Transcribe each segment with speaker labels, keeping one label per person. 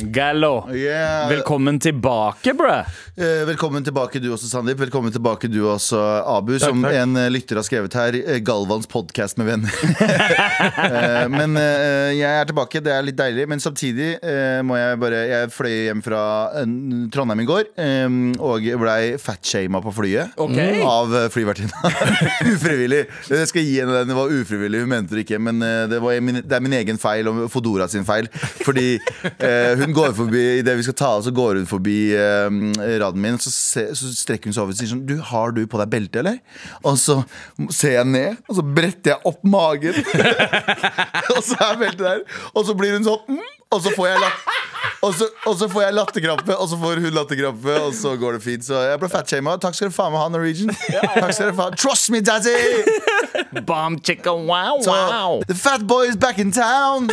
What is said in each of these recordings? Speaker 1: Gallo.
Speaker 2: Yeah.
Speaker 1: Velkommen tilbake, bruh.
Speaker 2: Eh, Velkommen tilbake du også, Sandeep. Velkommen tilbake du også, Abu. som
Speaker 1: takk.
Speaker 2: en eh, lytter har skrevet her. eh, Galvans podkast med venner. Eh, men eh, jeg er tilbake, det er litt deilig. Men samtidig eh, må jeg bare Jeg fløy hjem fra eh, Trondheim i går eh, og blei fatshama på flyet.
Speaker 1: Ok.
Speaker 2: Av eh, flyvertinna. ufrivillig. Jeg skal gi henne den. Det var ufrivillig, hun mente det ikke. Men eh, det, var min, det er min egen feil og Fodora sin feil. Fordi eh, hun går forbi idet vi skal ta av, så går hun forbi eh, raden min. Så, se, så strekker hun seg over og sier sånn Du, har du på deg belte, eller? Og så ser jeg ned, og så bretter jeg opp magen. Og så er beltet der Og så blir hun sånn mm, Og så får jeg latt og så, og så får jeg latterkrampe, og så får hun latterkrampe, og så går det fint. Så jeg ble fatshama. Takk skal du faen meg ha, Norwegian. Takk skal du faen Trust me, daddy!
Speaker 1: Bomb chicken wow
Speaker 2: Så,
Speaker 1: wow.
Speaker 2: the fat boy is back in town!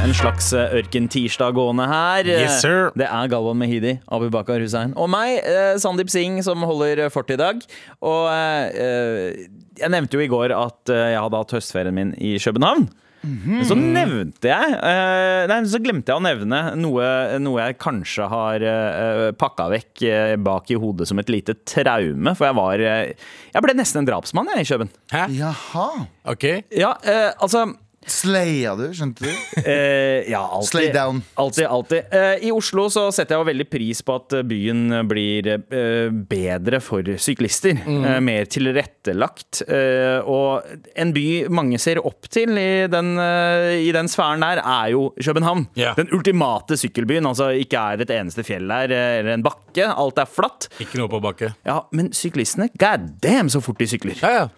Speaker 1: En slags eh, ørkentirsdag gående her.
Speaker 3: Yes, sir.
Speaker 1: Det er Galvan Mehidi, Abu Bakar Hussein og meg, eh, Sandeep Singh, som holder eh, fort i dag. Og eh, eh, jeg nevnte jo i går at eh, jeg hadde hatt høstferien min i København.
Speaker 3: Mhm.
Speaker 1: Men Så nevnte jeg eh, Nei, så glemte jeg å nevne noe, noe jeg kanskje har uh, pakka vekk eh, bak i hodet som et lite traume. For jeg var eh, Jeg ble nesten en drapsmann, jeg, i Køben.
Speaker 3: Hæ?
Speaker 2: Jaha.
Speaker 3: Ok.
Speaker 1: Ja, eh, altså
Speaker 2: Slaya du, skjønte du?
Speaker 1: Eh, ja, alltid.
Speaker 2: Slay down.
Speaker 1: Alltid, alltid. Eh, I Oslo så setter jeg jo veldig pris på at eh, byen blir eh, bedre for syklister.
Speaker 2: Mm.
Speaker 1: Eh, mer tilrettelagt. Eh, og en by mange ser opp til i den, eh, i den sfæren der, er jo København.
Speaker 3: Ja.
Speaker 1: Den ultimate sykkelbyen. Altså ikke er et eneste fjell der eh, eller en bakke. Alt er flatt.
Speaker 3: Ikke noe på bakke.
Speaker 1: Ja, men syklistene, god damn så fort de sykler.
Speaker 3: Ja, ja.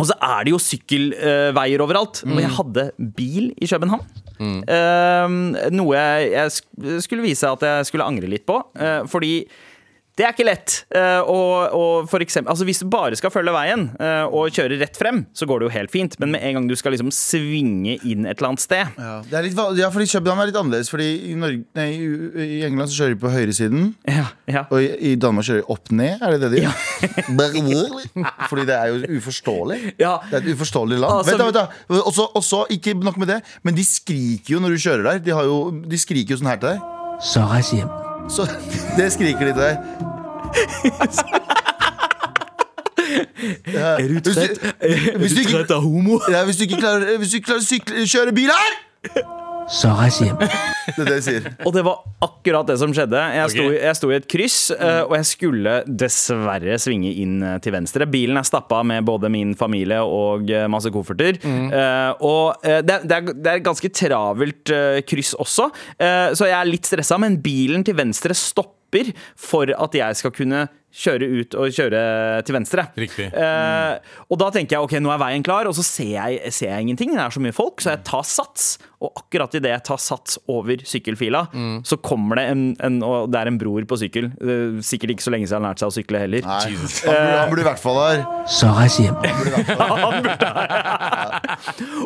Speaker 1: Og så er det jo sykkelveier overalt. Og jeg hadde bil i København. Mm. Eh, noe jeg, jeg sk- skulle vise at jeg skulle angre litt på. eh, fordi det er ikke lett. Eh, og, og for eksempel, altså hvis du bare skal følge veien eh, og kjøre rett frem, så går det jo helt fint. Men med en gang du skal liksom svinge inn et eller annet sted
Speaker 2: Ja, det er litt, van- ja fordi København er litt annerledes. Fordi i, Norge, nei, i, I England så kjører de på høyresiden,
Speaker 1: Ja, ja.
Speaker 2: og i, i Danmark kjører de opp ned. Er det det de gjør? fordi det er jo uforståelig.
Speaker 1: ja.
Speaker 2: Det er et uforståelig land.
Speaker 1: Altså,
Speaker 2: vent da, vent da. Også, også, ikke nok med det, men de skriker jo når du kjører der. De, har jo, de skriker jo sånn her til deg.
Speaker 4: Så reis hjem.
Speaker 2: Så Det skriker de til deg. Ja, hvis du- hvis du ikke-
Speaker 1: av homo?
Speaker 2: ja, Hvis du ikke klarer, hvis du ikke klarer å sykle, kjøre bil her!
Speaker 4: Så reis hjem.
Speaker 2: Det er det de sier.
Speaker 1: Og det var akkurat det som skjedde. Jeg sto,
Speaker 3: Ok. Mm.
Speaker 1: jeg sto i et kryss, eh, og jeg skulle dessverre svinge inn eh, til venstre. Bilen er stappa med både min familie og eh, masse kofferter.
Speaker 3: Mm.
Speaker 1: Eh, og eh, det, er- det, er, det er et ganske travelt eh, kryss også, Eh, så jeg er litt stressa, men bilen til venstre stopper for at jeg skal kunne kjøre ut og kjøre til venstre.
Speaker 3: Riktig.
Speaker 1: Eh, og da tenker jeg ok, nå er veien klar, og så ser jeg, ser jeg ingenting. Det er så mye folk, så jeg tar sats. Og akkurat idet jeg tar sats over sykkelfila, så kommer det en, en Og det er en bror på sykkel. Eh, sikkert ikke så lenge siden han har lært seg å sykle heller.
Speaker 2: Nei, han burde- han burde i hvert fall her.
Speaker 4: Så reis hjem.
Speaker 1: Han burde ha-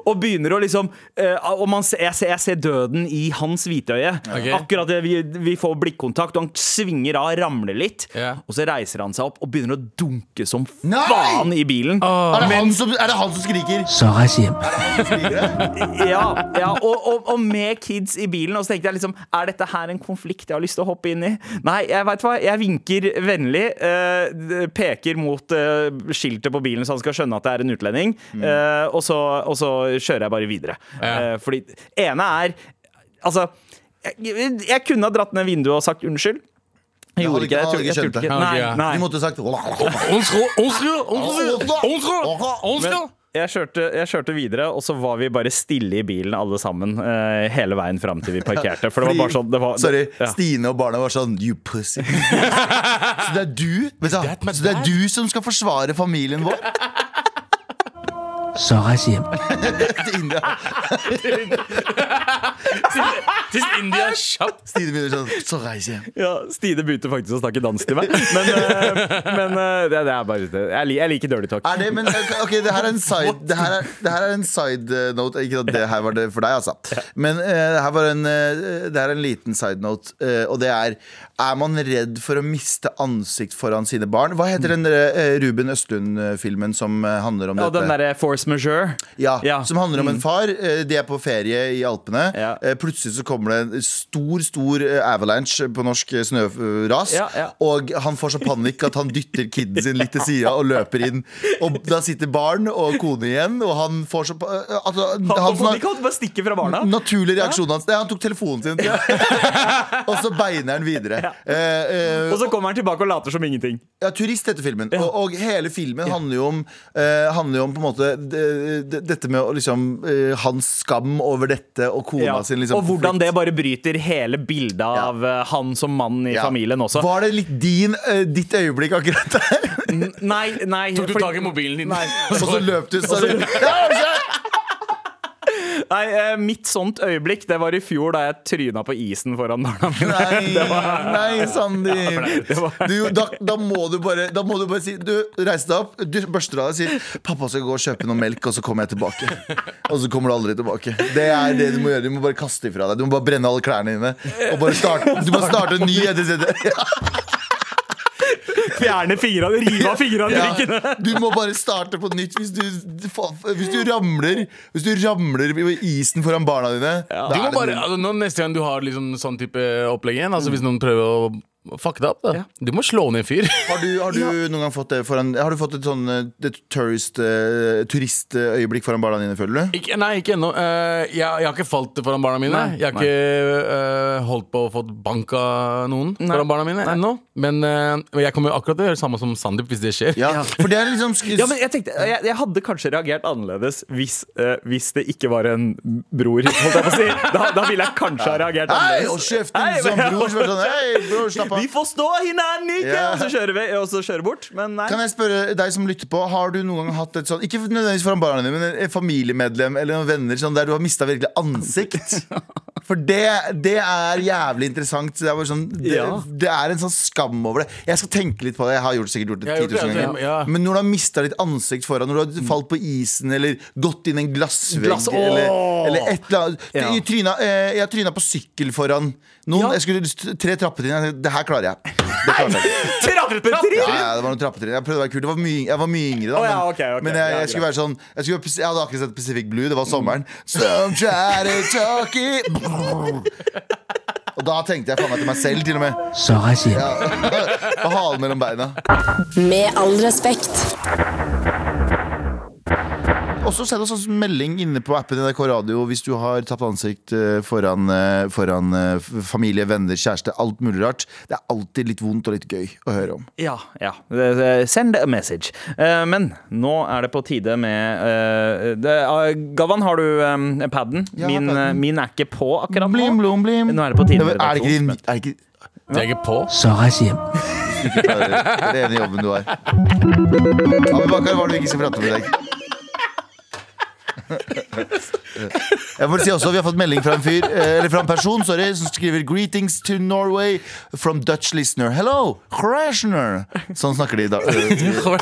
Speaker 1: og begynner å liksom eh, og man, ser- jeg, ser, jeg ser døden i hans hvitøye.
Speaker 3: Ok.
Speaker 1: Akkurat det vi, vi får blikkontakt, og han svinger av, ramler litt.
Speaker 3: Ja.
Speaker 1: Og så reiser han seg opp og begynner å dunke som
Speaker 2: Nei!
Speaker 1: faen i bilen.
Speaker 3: Ah.
Speaker 2: Er det, han som, er det han som skriker?
Speaker 4: Så reis hjem.
Speaker 1: Ja, ja og, og, og med kids i bilen. Og så tenkte jeg liksom Er dette her en konflikt jeg har lyst til å hoppe inn i? Nei, jeg vet hva. Jeg vinker vennlig. eh, d- peker mot eh, skiltet på bilen, så han skal skjønne at det er en utlending. eh, og, så, og så kjører jeg bare videre.
Speaker 3: Ja.
Speaker 1: Eh, fordi ene er Altså, jeg, jeg kunne ha dratt ned vinduet og sagt unnskyld. Jeg
Speaker 2: hadde
Speaker 1: gjorde ikke det. Jeg
Speaker 2: ikke-
Speaker 1: tror- Jeg
Speaker 2: hadde ikke
Speaker 1: turte
Speaker 2: skjønt det.
Speaker 1: ikke.
Speaker 3: Ja, ok, ja.
Speaker 1: Nei,
Speaker 2: De
Speaker 1: nei.
Speaker 2: måtte sagt
Speaker 3: Onsro, onsro, onsro, onsro, onsro.
Speaker 1: jeg kjørte, jeg kjørte videre, og så var vi bare stille i bilen alle sammen eh, hele veien fram til vi parkerte. For det var bare sånn det var,
Speaker 2: Sorry,
Speaker 1: ja.
Speaker 2: Stine og barna var sånn You pussy. Så det er du vet du, hva? Så det er du som skal forsvare familien vår?
Speaker 4: Så reis hjem.
Speaker 2: Til India.
Speaker 3: Hvis India er kjapt
Speaker 2: Stine begynner sånn Så reiser jeg hjem.
Speaker 1: Ja, Stine begynte faktisk å snakke dansk til meg. Men, eh, men eh, det, det er bare det. Jeg, lik- jeg liker dirty talk.
Speaker 2: Er det, men ok, det her er en side Det her er, det her er en side note Ikke at det her var det for deg altså Men eh, det, her var en, eh, det her er en liten side note eh, Og det er Er man redd for å miste ansikt foran sine barn? Hva heter den eh, Ruben Østlund-filmen som eh, handler om
Speaker 1: Og
Speaker 2: dette?
Speaker 1: den derre force majeure.
Speaker 2: Ja,
Speaker 1: Ja. Mm.
Speaker 2: som handler om en far. eh, De er på ferie i Alpene.
Speaker 1: Ja.
Speaker 2: Eh, Plutselig så kommer det en stor stor eh, avalanche på norsk eh, snøras.
Speaker 1: Ja, ja.
Speaker 2: Og han får så panikk at han dytter kiden sin litt til sida og løper inn. Og da sitter barn og kone igjen, og han får så pa- eh, altså,
Speaker 1: Han,
Speaker 2: han
Speaker 1: han,
Speaker 2: som har-
Speaker 1: kan bare stikke fra barna.
Speaker 2: Naturlig reaksjon hans. Nei, han tok telefonen sin, og så beiner han videre. Eh, eh,
Speaker 1: Og så kommer han tilbake og later som ingenting.
Speaker 2: ja, turist heter filmen. Og, og hele filmen handler jo om, eh, handler jo om på en måte de, de, dette med å liksom eh, hans skam over dette og kona
Speaker 1: Ja.
Speaker 2: sin liksom
Speaker 1: og hvordan det bare bryter hele bildet av eh, han som mann i
Speaker 2: Ja.
Speaker 1: familien også. Mm.
Speaker 2: Var det litt din, eh, ditt øyeblikk akkurat der?
Speaker 1: N- Nei, nei
Speaker 3: Tok du
Speaker 1: fordi-
Speaker 3: tak i mobilen din?
Speaker 1: Nei.
Speaker 2: Og så løp du så ja,
Speaker 1: Nei, eh, mitt sånt øyeblikk Det var i fjor da jeg tryna på isen foran barna mine.
Speaker 2: Nei, nei Sandeep.
Speaker 1: det var-
Speaker 2: Du, da, da, må du bare, da må du bare si Du reiser deg opp, du børster deg og sier 'Pappa skal gå og kjøpe noe melk, og så kommer jeg tilbake'. Og så kommer du aldri tilbake. Det er det du må gjøre. Du må bare kaste ifra deg. Du må bare brenne alle klærne dine. Og bare starte, du må starte en ny etisette.
Speaker 1: Fjerne fingrene, rive av fingrene i drikken.
Speaker 2: Ja, du må bare starte på nytt. Hvis du, hvis du ramler Hvis du ramler i isen foran barna dine da
Speaker 3: Du
Speaker 2: er
Speaker 3: må
Speaker 2: det
Speaker 3: bare,
Speaker 2: null.
Speaker 3: altså, nå, Neste gang du har liksom sånn type opplegg igjen, altså hvis noen prøver å fucke deg opp, da.
Speaker 1: Ja.
Speaker 3: Du må slå ned en fyr.
Speaker 2: Har du, har du noen gang fått det foran Har du fått et sånn eh, det tourist, eh, turistøyeblikk foran barna dine, føler du?
Speaker 3: Ikke, nei, ikke ennå. Eh, jeg, jeg har ikke falt foran barna mine.
Speaker 1: Nei,
Speaker 3: jeg har ikke eh, holdt på å få bank av noen foran barna mine ennå. Men eh, men jeg kommer jo akkurat til å gjøre det samme som Sandeep hvis det skjer.
Speaker 2: Ja, for det er liksom sk-
Speaker 1: Ja, men jeg tenkte, jeg, jeg hadde kanskje reagert annerledes hvis, eh, hvis det ikke var en bror, holdt jeg på å si. Da, da ville jeg kanskje ha reagert
Speaker 2: Hei,
Speaker 1: annerledes.
Speaker 2: og kjeften
Speaker 1: Hei,
Speaker 2: som
Speaker 1: men-
Speaker 2: bror som er sånn Hei, bror, slapp
Speaker 1: Vi
Speaker 2: av.
Speaker 1: forstår hverandre ikke!
Speaker 2: Ja.
Speaker 1: Og så kjører vi og så kjører bort. Men nei.
Speaker 2: Kan jeg spørre deg som lytter på, har du noen gang hatt et sånn Ikke nødvendigvis foran barna dine, men en familiemedlem eller noen venner sånn der du har mista virkelig ansikt? For det, det er jævlig interessant. Det er, bare sånn, det,
Speaker 1: Ja.
Speaker 2: det er en sånn skam over det. Jeg skal tenke litt på det. Jeg har gjort, sikkert gjort det
Speaker 3: Jeg har gjort
Speaker 1: altså,
Speaker 2: 10 000
Speaker 3: det,
Speaker 2: ganger.
Speaker 3: ja.
Speaker 2: Men når du har mista ditt ansikt foran, når du har falt på isen eller gått inn i en glassvegg
Speaker 1: Glass- Åh!
Speaker 2: eller, eller et eller annet
Speaker 1: Ja.
Speaker 2: Jeg tryna- eh, Jeg tryna på sykkel foran noen.
Speaker 1: Ja.
Speaker 2: Jeg skulle st- tre trappetrinn. Jeg tenkte, Det her klarer jeg. Det klarer jeg. Ja,
Speaker 1: Trappetrinn!
Speaker 2: ja, det var noen trappetrinn. Jeg prøvde å være kul. Det var mye, jeg var mye yngre da.
Speaker 1: Å, ja,
Speaker 2: men-
Speaker 1: ok, ok.
Speaker 2: Men jeg,
Speaker 1: Ja,
Speaker 2: jeg skulle være sånn jeg, skulle, være- jeg hadde akkurat sett Pacific Blue. Det var sommeren. Some try to talk it. Og da tenkte jeg faen meg til meg selv, til og med.
Speaker 4: Sarasiem.
Speaker 2: På halen mellom beina.
Speaker 5: Med all respekt.
Speaker 2: Også send oss en melding inne på appen NRK Radio hvis du har tapt ansikt eh, foran, eh, foran eh, familie, venner, kjæreste. Alt mulig rart. Det er alltid litt vondt og litt gøy å høre om.
Speaker 1: Ja, ja. Eh, Send a message. Eh, Men nå er det på tide med eh, det- ah, Gavan, har du eh, paden?
Speaker 2: Ja,
Speaker 1: Min, eh,
Speaker 2: padden.
Speaker 1: min er ikke på akkurat
Speaker 2: Blim,
Speaker 1: nå.
Speaker 2: blom, blim.
Speaker 1: Nå er det på tide
Speaker 2: Er
Speaker 1: med
Speaker 2: det ikke din Er det ikke
Speaker 3: Det er ikke på.
Speaker 4: Sarasiem.
Speaker 2: Det er den ene jobben du har. Abubakar, hva er det du ikke skal prate om i dag? Jeg får si også, Vi har fått melding fra en fyr eh, Eller fra en person sorry, som skriver 'Greetings to Norway from Dutch listener'. Hello, Krasjner. Sånn snakker de i dag.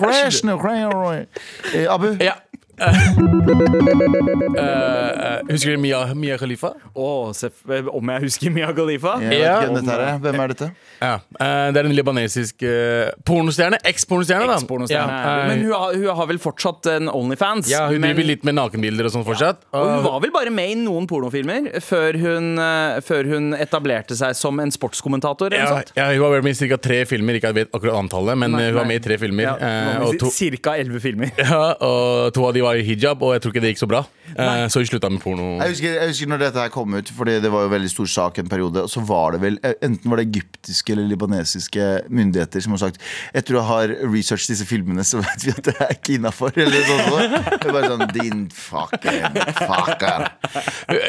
Speaker 2: Krasjner, Krasjner. Eh, Abu,
Speaker 3: Ja. Eh, eh, husker du Mia, Mia Khalifa?
Speaker 1: Å, seff- eh, om jeg husker Mia Khalifa?
Speaker 2: jeg vet ikke hvem, dette her er. hvem er dette?
Speaker 3: Ja. eh, det er en libanesisk eh, pornostjerne. Eks-pornostjerne, da.
Speaker 1: Pornostjerne.
Speaker 3: Ja, eh,
Speaker 1: Men hun har, hun har vel fortsatt en Onlyfans?
Speaker 3: ja, hun
Speaker 1: men,
Speaker 3: driver litt med nakenbilder og sånn fortsatt.
Speaker 1: og hun var vel bare med i noen pornofilmer før hun, eh, før hun etablerte seg som en sportskommentator? eller noe
Speaker 3: ja,
Speaker 1: sånt?
Speaker 3: ja, hun var vel med i ca. tre filmer. Ikke at jeg vet akkurat antallet, men
Speaker 1: Nei,
Speaker 3: eh, hun var
Speaker 1: nei.
Speaker 3: med i tre filmer.
Speaker 1: Ja,
Speaker 3: eh,
Speaker 1: nå må
Speaker 3: og
Speaker 1: vi
Speaker 3: to,
Speaker 1: si Cirka elleve filmer.
Speaker 3: Ja, og to av de var i hijab, og jeg tror ikke det gikk så bra. Eh, så vi slutta med porno.
Speaker 2: Jeg husker, jeg husker når dette her kom ut, Fordi det var jo veldig stor sak en periode. Og så var det vel, eh, Enten var det egyptiske eller libanesiske myndigheter som har sagt Etter å ha researchet disse filmene, så vet vi at det er ikke innafor. Eller sånn, sånn. Det er bare sånn Din fucking fucker.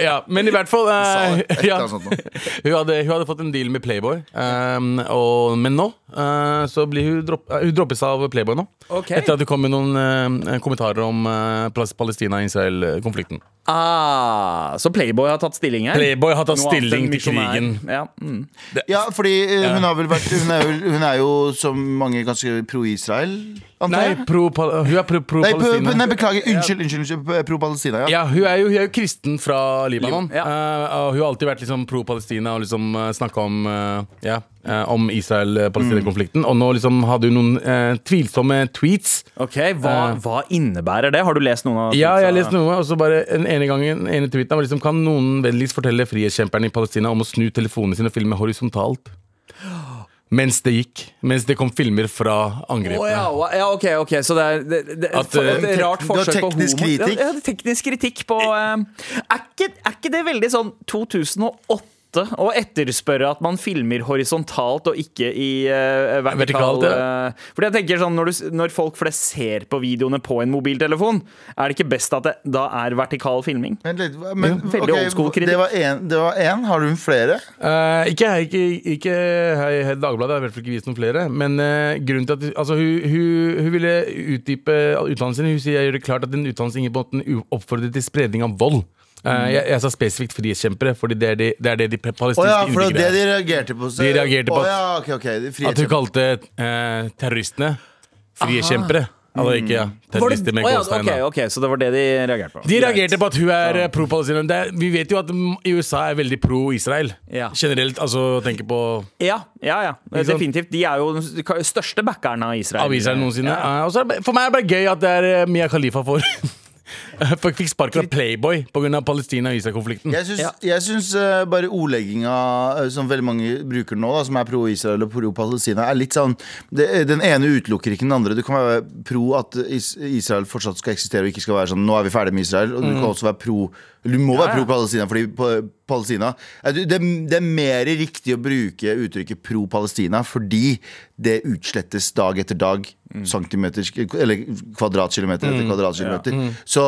Speaker 3: Ja, men i hvert fall eh,
Speaker 2: Sa det,
Speaker 3: ja.
Speaker 2: eller sånt
Speaker 3: hun,
Speaker 2: noe.
Speaker 3: hadde, hun hadde fått en deal med Playboy, um, og, men nå eh, så blir hun, dropp, eh, hun droppes av Playboy nå.
Speaker 1: Ok.
Speaker 3: Etter at det kom med noen eh, kommentarer om eh, Plas- Palestina-Israel-konflikten.
Speaker 1: Ah, så Playboy har tatt stilling her?
Speaker 3: Playboy har tatt
Speaker 1: Noe annet
Speaker 3: stilling
Speaker 1: enn
Speaker 3: til krigen.
Speaker 1: misjonær. Ja, mm.
Speaker 2: Ja, fordi eh, hun har vel vært Hun er, vel- hun er jo som mange ganske pro-Israel, antar
Speaker 3: Nei,
Speaker 2: jeg?
Speaker 3: pro, pal- hun er pro-
Speaker 2: Nei, pro-
Speaker 3: pro-Palestina.
Speaker 2: nei, beklager. Unnskyld, unnskyld. unnskyld Pro-Palestina, ja.
Speaker 3: Ja, hun er, jo, hun er jo kristen fra Libanon.
Speaker 1: Libanon, ja.
Speaker 3: Eh, og hun har alltid vært liksom pro-Palestina og liksom uh, snakka om, eh, ja, eh, om Israel-Palestina-konflikten. Og nå liksom hadde hun noen eh, tvilsomme tweets.
Speaker 1: Ok, hva,
Speaker 3: Eh.
Speaker 1: hva innebærer det? Har du lest noen av
Speaker 3: Ja, jeg har
Speaker 1: tweetsa?
Speaker 3: lest noe, og så bare den ene gangen den ene tweeten var liksom Kan noen vennligst fortelle frihetskjemperne i Palestina om å snu telefonene sine og filme horisontalt? Mens det gikk. Mens det kom filmer fra angrepene.
Speaker 1: Å, ja, wa- ja, ok, ok, så det er det, det,
Speaker 3: At,
Speaker 1: for-
Speaker 3: eh,
Speaker 1: et rart
Speaker 2: tek-
Speaker 1: forsøk på
Speaker 2: det var teknisk
Speaker 1: homo-
Speaker 2: kritikk.
Speaker 1: Ja, ja, teknisk kritikk på eh, er, ikke, er ikke det veldig sånn 2008 å etterspørre at man filmer horisontalt og ikke i eh, vertikal
Speaker 3: Vertikalt, ja.
Speaker 1: eh, Fordi jeg tenker sånn, når, du, s- når folk flest ser på videoene på en mobiltelefon, er det ikke best at det da er vertikal filming?
Speaker 2: Vent litt, hva- men,
Speaker 1: veldig
Speaker 2: ok,
Speaker 1: old school kritikk.
Speaker 2: Det var en- det var én. Har hun flere?
Speaker 3: Eh, ikke her ikke, ikke her i Dagbladet, jeg har i hvert fall ikke vist noen flere. Men eh, grunnen til at altså, hun, hun, hun ville utdype utdannelsen sin. Hun sier jeg gjør det klart at den utdannelsen ingen på måten u- oppfordrer til spredning av vold. Eh, jeg, jeg sa spesifikt frihetskjempere, Fordi det er det, det, er det de pe-
Speaker 2: Mm. Å
Speaker 3: palestinske
Speaker 2: ja, for det var det
Speaker 3: innbyggere
Speaker 2: de
Speaker 3: er.
Speaker 2: reagerte på. så-
Speaker 3: De reagerte på
Speaker 2: Å
Speaker 3: at-
Speaker 2: ja, ok, ok, de
Speaker 3: At hun
Speaker 2: frihetskjemper.
Speaker 3: kalte eh, terroristene frihetskjempere. Altså ikke ja, terrorister med
Speaker 1: Mm. Å ja,
Speaker 3: gåstegn. da.
Speaker 1: ok, ok, så det var det de reagerte på.
Speaker 3: De reagerte på at hun er eh, pro-palestina. Det er- Vi vet jo at mm, USA er veldig pro-Israel.
Speaker 1: Ja.
Speaker 3: Generelt, altså tenker på
Speaker 1: Ja, ja, ja.
Speaker 3: Ikke sant?
Speaker 1: definitivt. De er jo den største backeren av Israel.
Speaker 3: av Israel noensinne. Eh, og så er det, for meg er det bare gøy at det er eh, Mia Khalifa for Folk fikk sparken av Playboy pga. Palestina- og Israel-konflikten.
Speaker 2: Jeg syns,
Speaker 1: Ja.
Speaker 2: jeg syns eh, bare ordlegginga eh, som veldig mange bruker nå, da, som er pro-Israel og pro-Palestina, er litt sånn det, Den ene utelukker ikke den andre. Du kan være pro at is Israel fortsatt skal eksistere og ikke skal være sånn Nå er vi ferdig med Israel. Og du kan også være pro Du må være pro-Palestina fordi pa- Palestina Eh, du, det, det er mer riktig å bruke uttrykket pro-Palestina fordi det utslettes dag etter dag. Centimeter Eller kvadratkilometer etter kvadratkilometer. Så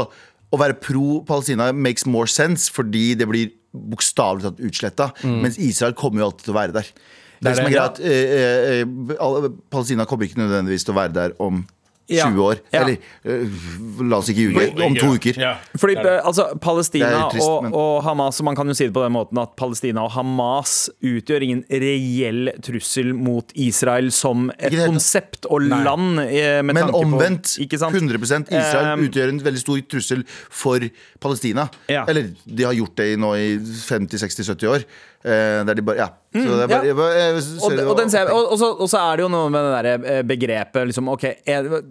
Speaker 2: å være pro-Palestina makes more sense fordi det blir bokstavelig talt utsletta.
Speaker 1: Mm.
Speaker 2: Mens Israel kommer jo alltid til å være der. Det
Speaker 3: Det er
Speaker 2: er som er
Speaker 3: det, ja.
Speaker 2: greit, eh, eh, eh, alle- Palestina kommer ikke nødvendigvis til å være der om
Speaker 1: Ja.
Speaker 2: 20 år.
Speaker 1: Ja.
Speaker 2: Eller eh, la oss ikke ljuge. Om to uker.
Speaker 3: Ja.
Speaker 1: Fordi eh, altså, Palestina
Speaker 2: Det er jo trist,
Speaker 1: og,
Speaker 2: men-
Speaker 1: og Hamas, og man kan jo si det på den måten at Palestina og Hamas utgjør ingen reell trussel mot Israel som et
Speaker 2: Ikke det hele tatt.
Speaker 1: konsept og land. eh, Med
Speaker 2: Men
Speaker 1: tanke
Speaker 2: omvendt.
Speaker 1: På, ikke sant?
Speaker 2: 100 Israel
Speaker 1: Eh,
Speaker 2: utgjør en veldig stor trussel for Palestina.
Speaker 1: Ja.
Speaker 2: Eller de har gjort det i nå i 50-60-70 år. Eh, der de bare Ja. Så det er bare,
Speaker 1: Mm, ja.
Speaker 2: jeg bare, jeg,
Speaker 1: og,
Speaker 2: sorry, det
Speaker 1: og,
Speaker 2: var-
Speaker 1: den ser, jeg- og, og, så, og så er det jo noe med det der eh, begrepet liksom, Ok, jeg, jeg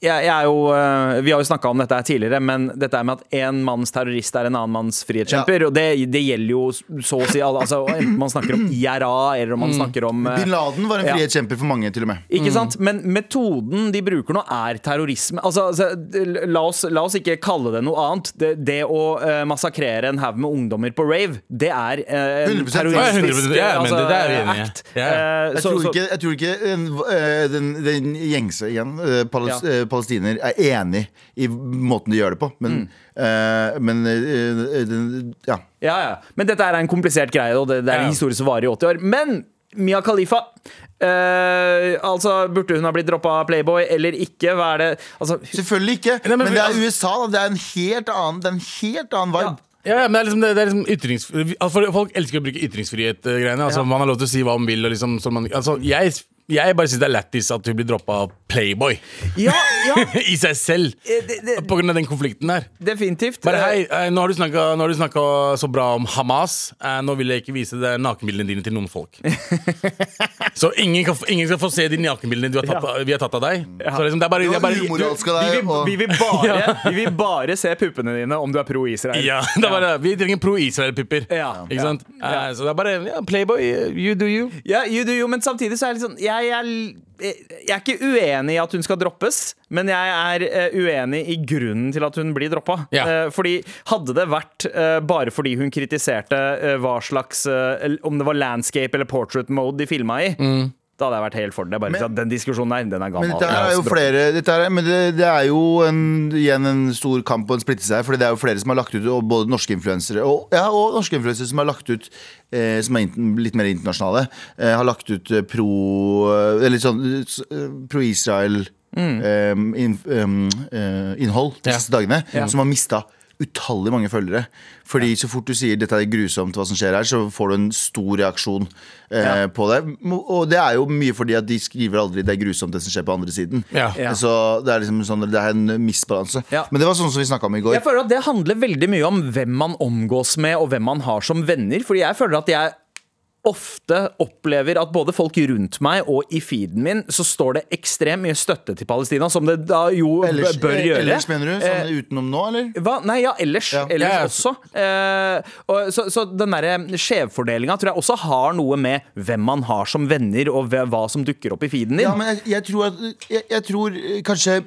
Speaker 1: jeg er jo eh, Vi har jo snakka om dette her tidligere, men dette er med at én manns terrorist er en annen manns frihetskjemper. Og det, det gjelder jo så å si alle. Altså, enten man snakker om IRA, eller
Speaker 3: Mm.
Speaker 1: om man snakker om eh,
Speaker 2: Bin Laden var en
Speaker 1: ja.
Speaker 2: frihetskjemper for mange, til og med.
Speaker 1: Ikke sant? Men metoden de bruker nå, er terrorisme. Altså, altså, la, oss, la oss ikke kalle det noe annet. Det, det å eh, massakrere en haug med ungdommer på rave, det er eh, en
Speaker 2: 100%
Speaker 1: terroristisk
Speaker 3: Ja, ja, men det- det er
Speaker 1: eh,
Speaker 3: vi enige i.
Speaker 1: act.
Speaker 3: Ja.
Speaker 1: Eh,
Speaker 2: Jeg
Speaker 1: så-
Speaker 2: tror
Speaker 1: så-
Speaker 2: ikke, jeg tror ikke en, eh, den, den gjengse igjen, eh, pales,
Speaker 1: Ja.
Speaker 2: eh, palestiner er enig i måten de gjør det på. Men,
Speaker 1: Mm.
Speaker 2: eh, men eh, den, ja.
Speaker 1: Ja, ja. Men dette er en komplisert greie, og det, det er en
Speaker 3: Ja.
Speaker 1: historie som varer i 80 år. Men Mia Khalifa eh, Altså, burde hun ha blitt droppa av Playboy eller ikke? Hva er det Altså, hun-
Speaker 2: Selvfølgelig ikke.
Speaker 3: Nei, men-
Speaker 2: men, det er USA, da. Det er en helt annen, det er en helt annen vibe.
Speaker 3: Ja, ja, men det er liksom, det, det er liksom ytrings, altså, for Folk elsker å bruke ytringsfrihet-greiene. Altså, Man har lov til å si hva man vil. Og liksom, så man, altså, jeg, jeg bare syns det er lættis at hun blir droppa av Playboy
Speaker 1: ja, ja,
Speaker 3: i seg selv.
Speaker 1: Eh, det- det-
Speaker 3: På grunn av den konflikten der.
Speaker 1: definitivt.
Speaker 3: Bare hei, eh, nå har du snakka, nå har du snakka så bra om Hamas. Eh, nå vil jeg ikke vise deg nakenbildene dine til noen folk. så ingen, kan, få- ingen skal få se de nakenbildene du har tatt, av- vi har tatt av deg. Så liksom, det er bare,
Speaker 2: Det
Speaker 3: det er
Speaker 2: var
Speaker 3: bare
Speaker 2: umoralsk av
Speaker 1: Vi
Speaker 2: deg.
Speaker 1: vil,
Speaker 2: og-
Speaker 1: vi, vil bare, vi vil bare se puppene dine om du er pro Israel.
Speaker 3: ja, det er bare, Vi trenger pro-Israel-pupper.
Speaker 1: Ja.
Speaker 3: Ikke sant? Eh, så det er bare ja, Playboy, you do you.
Speaker 1: Ja, you do, you, men samtidig så er jeg litt sånn jeg, er l- jeg er ikke uenig i at hun skal droppes, men jeg er eh, uenig i grunnen til at hun blir droppa.
Speaker 3: Ja.
Speaker 1: Eh, fordi hadde det vært eh, bare fordi hun kritiserte eh, hva slags eh, l- Om det var landscape eller portrait mode de filma i, da hadde jeg vært helt for det. Det er Bare, at den diskusjonen der, den er
Speaker 2: Men
Speaker 1: gammel.
Speaker 2: dette her
Speaker 1: Ja, altså,
Speaker 2: er jo
Speaker 1: så dropp.
Speaker 2: flere dette her, er- Men det, det er jo en, igjen en stor kamp og en splittelse her. Fordi det er jo flere som har lagt ut, og både norske influensere og, ja, og norske influensere som har lagt ut eh, Som er inten- litt mer internasjonale, eh, har lagt ut eh, pro eh, Eller sånn eh, s- eh, pro-Israel eh, in, eh, eh, innhold de
Speaker 3: Ja.
Speaker 2: siste dagene, som har mista utallig mange følgere. Fordi så fort du sier 'dette er grusomt, hva som skjer her', så får du en stor reaksjon eh, på det. Mo- Og det er jo mye fordi at de skriver aldri 'det er grusomt, det som skjer på andre siden'.
Speaker 3: Ja. Ja.
Speaker 2: Så det er liksom sånn, det er en misbalanse.
Speaker 1: Ja.
Speaker 2: Men det var sånn som vi snakka om i går.
Speaker 1: Jeg føler at det handler veldig mye om hvem man omgås med, og hvem man har som venner. Fordi jeg føler at jeg ofte opplever at både folk rundt meg og i feeden min, så står det ekstremt mye støtte til Palestina, som det da jo
Speaker 2: Ellers, eh,
Speaker 1: bør gjøre. Eh,
Speaker 2: ellers mener du? Sånn utenom nå, eller?
Speaker 1: Hva? Nei, ja, ellers,
Speaker 2: Ja.
Speaker 1: ellers
Speaker 3: Ja, ja.
Speaker 1: også. Eh, og, så, så den derre mm, skjevfordelinga tror jeg også har noe med hvem man har som venner, og hve- hva som dukker opp i feeden din.
Speaker 2: Ja, men jeg, jeg tror at jeg, jeg tror eh, kanskje eh,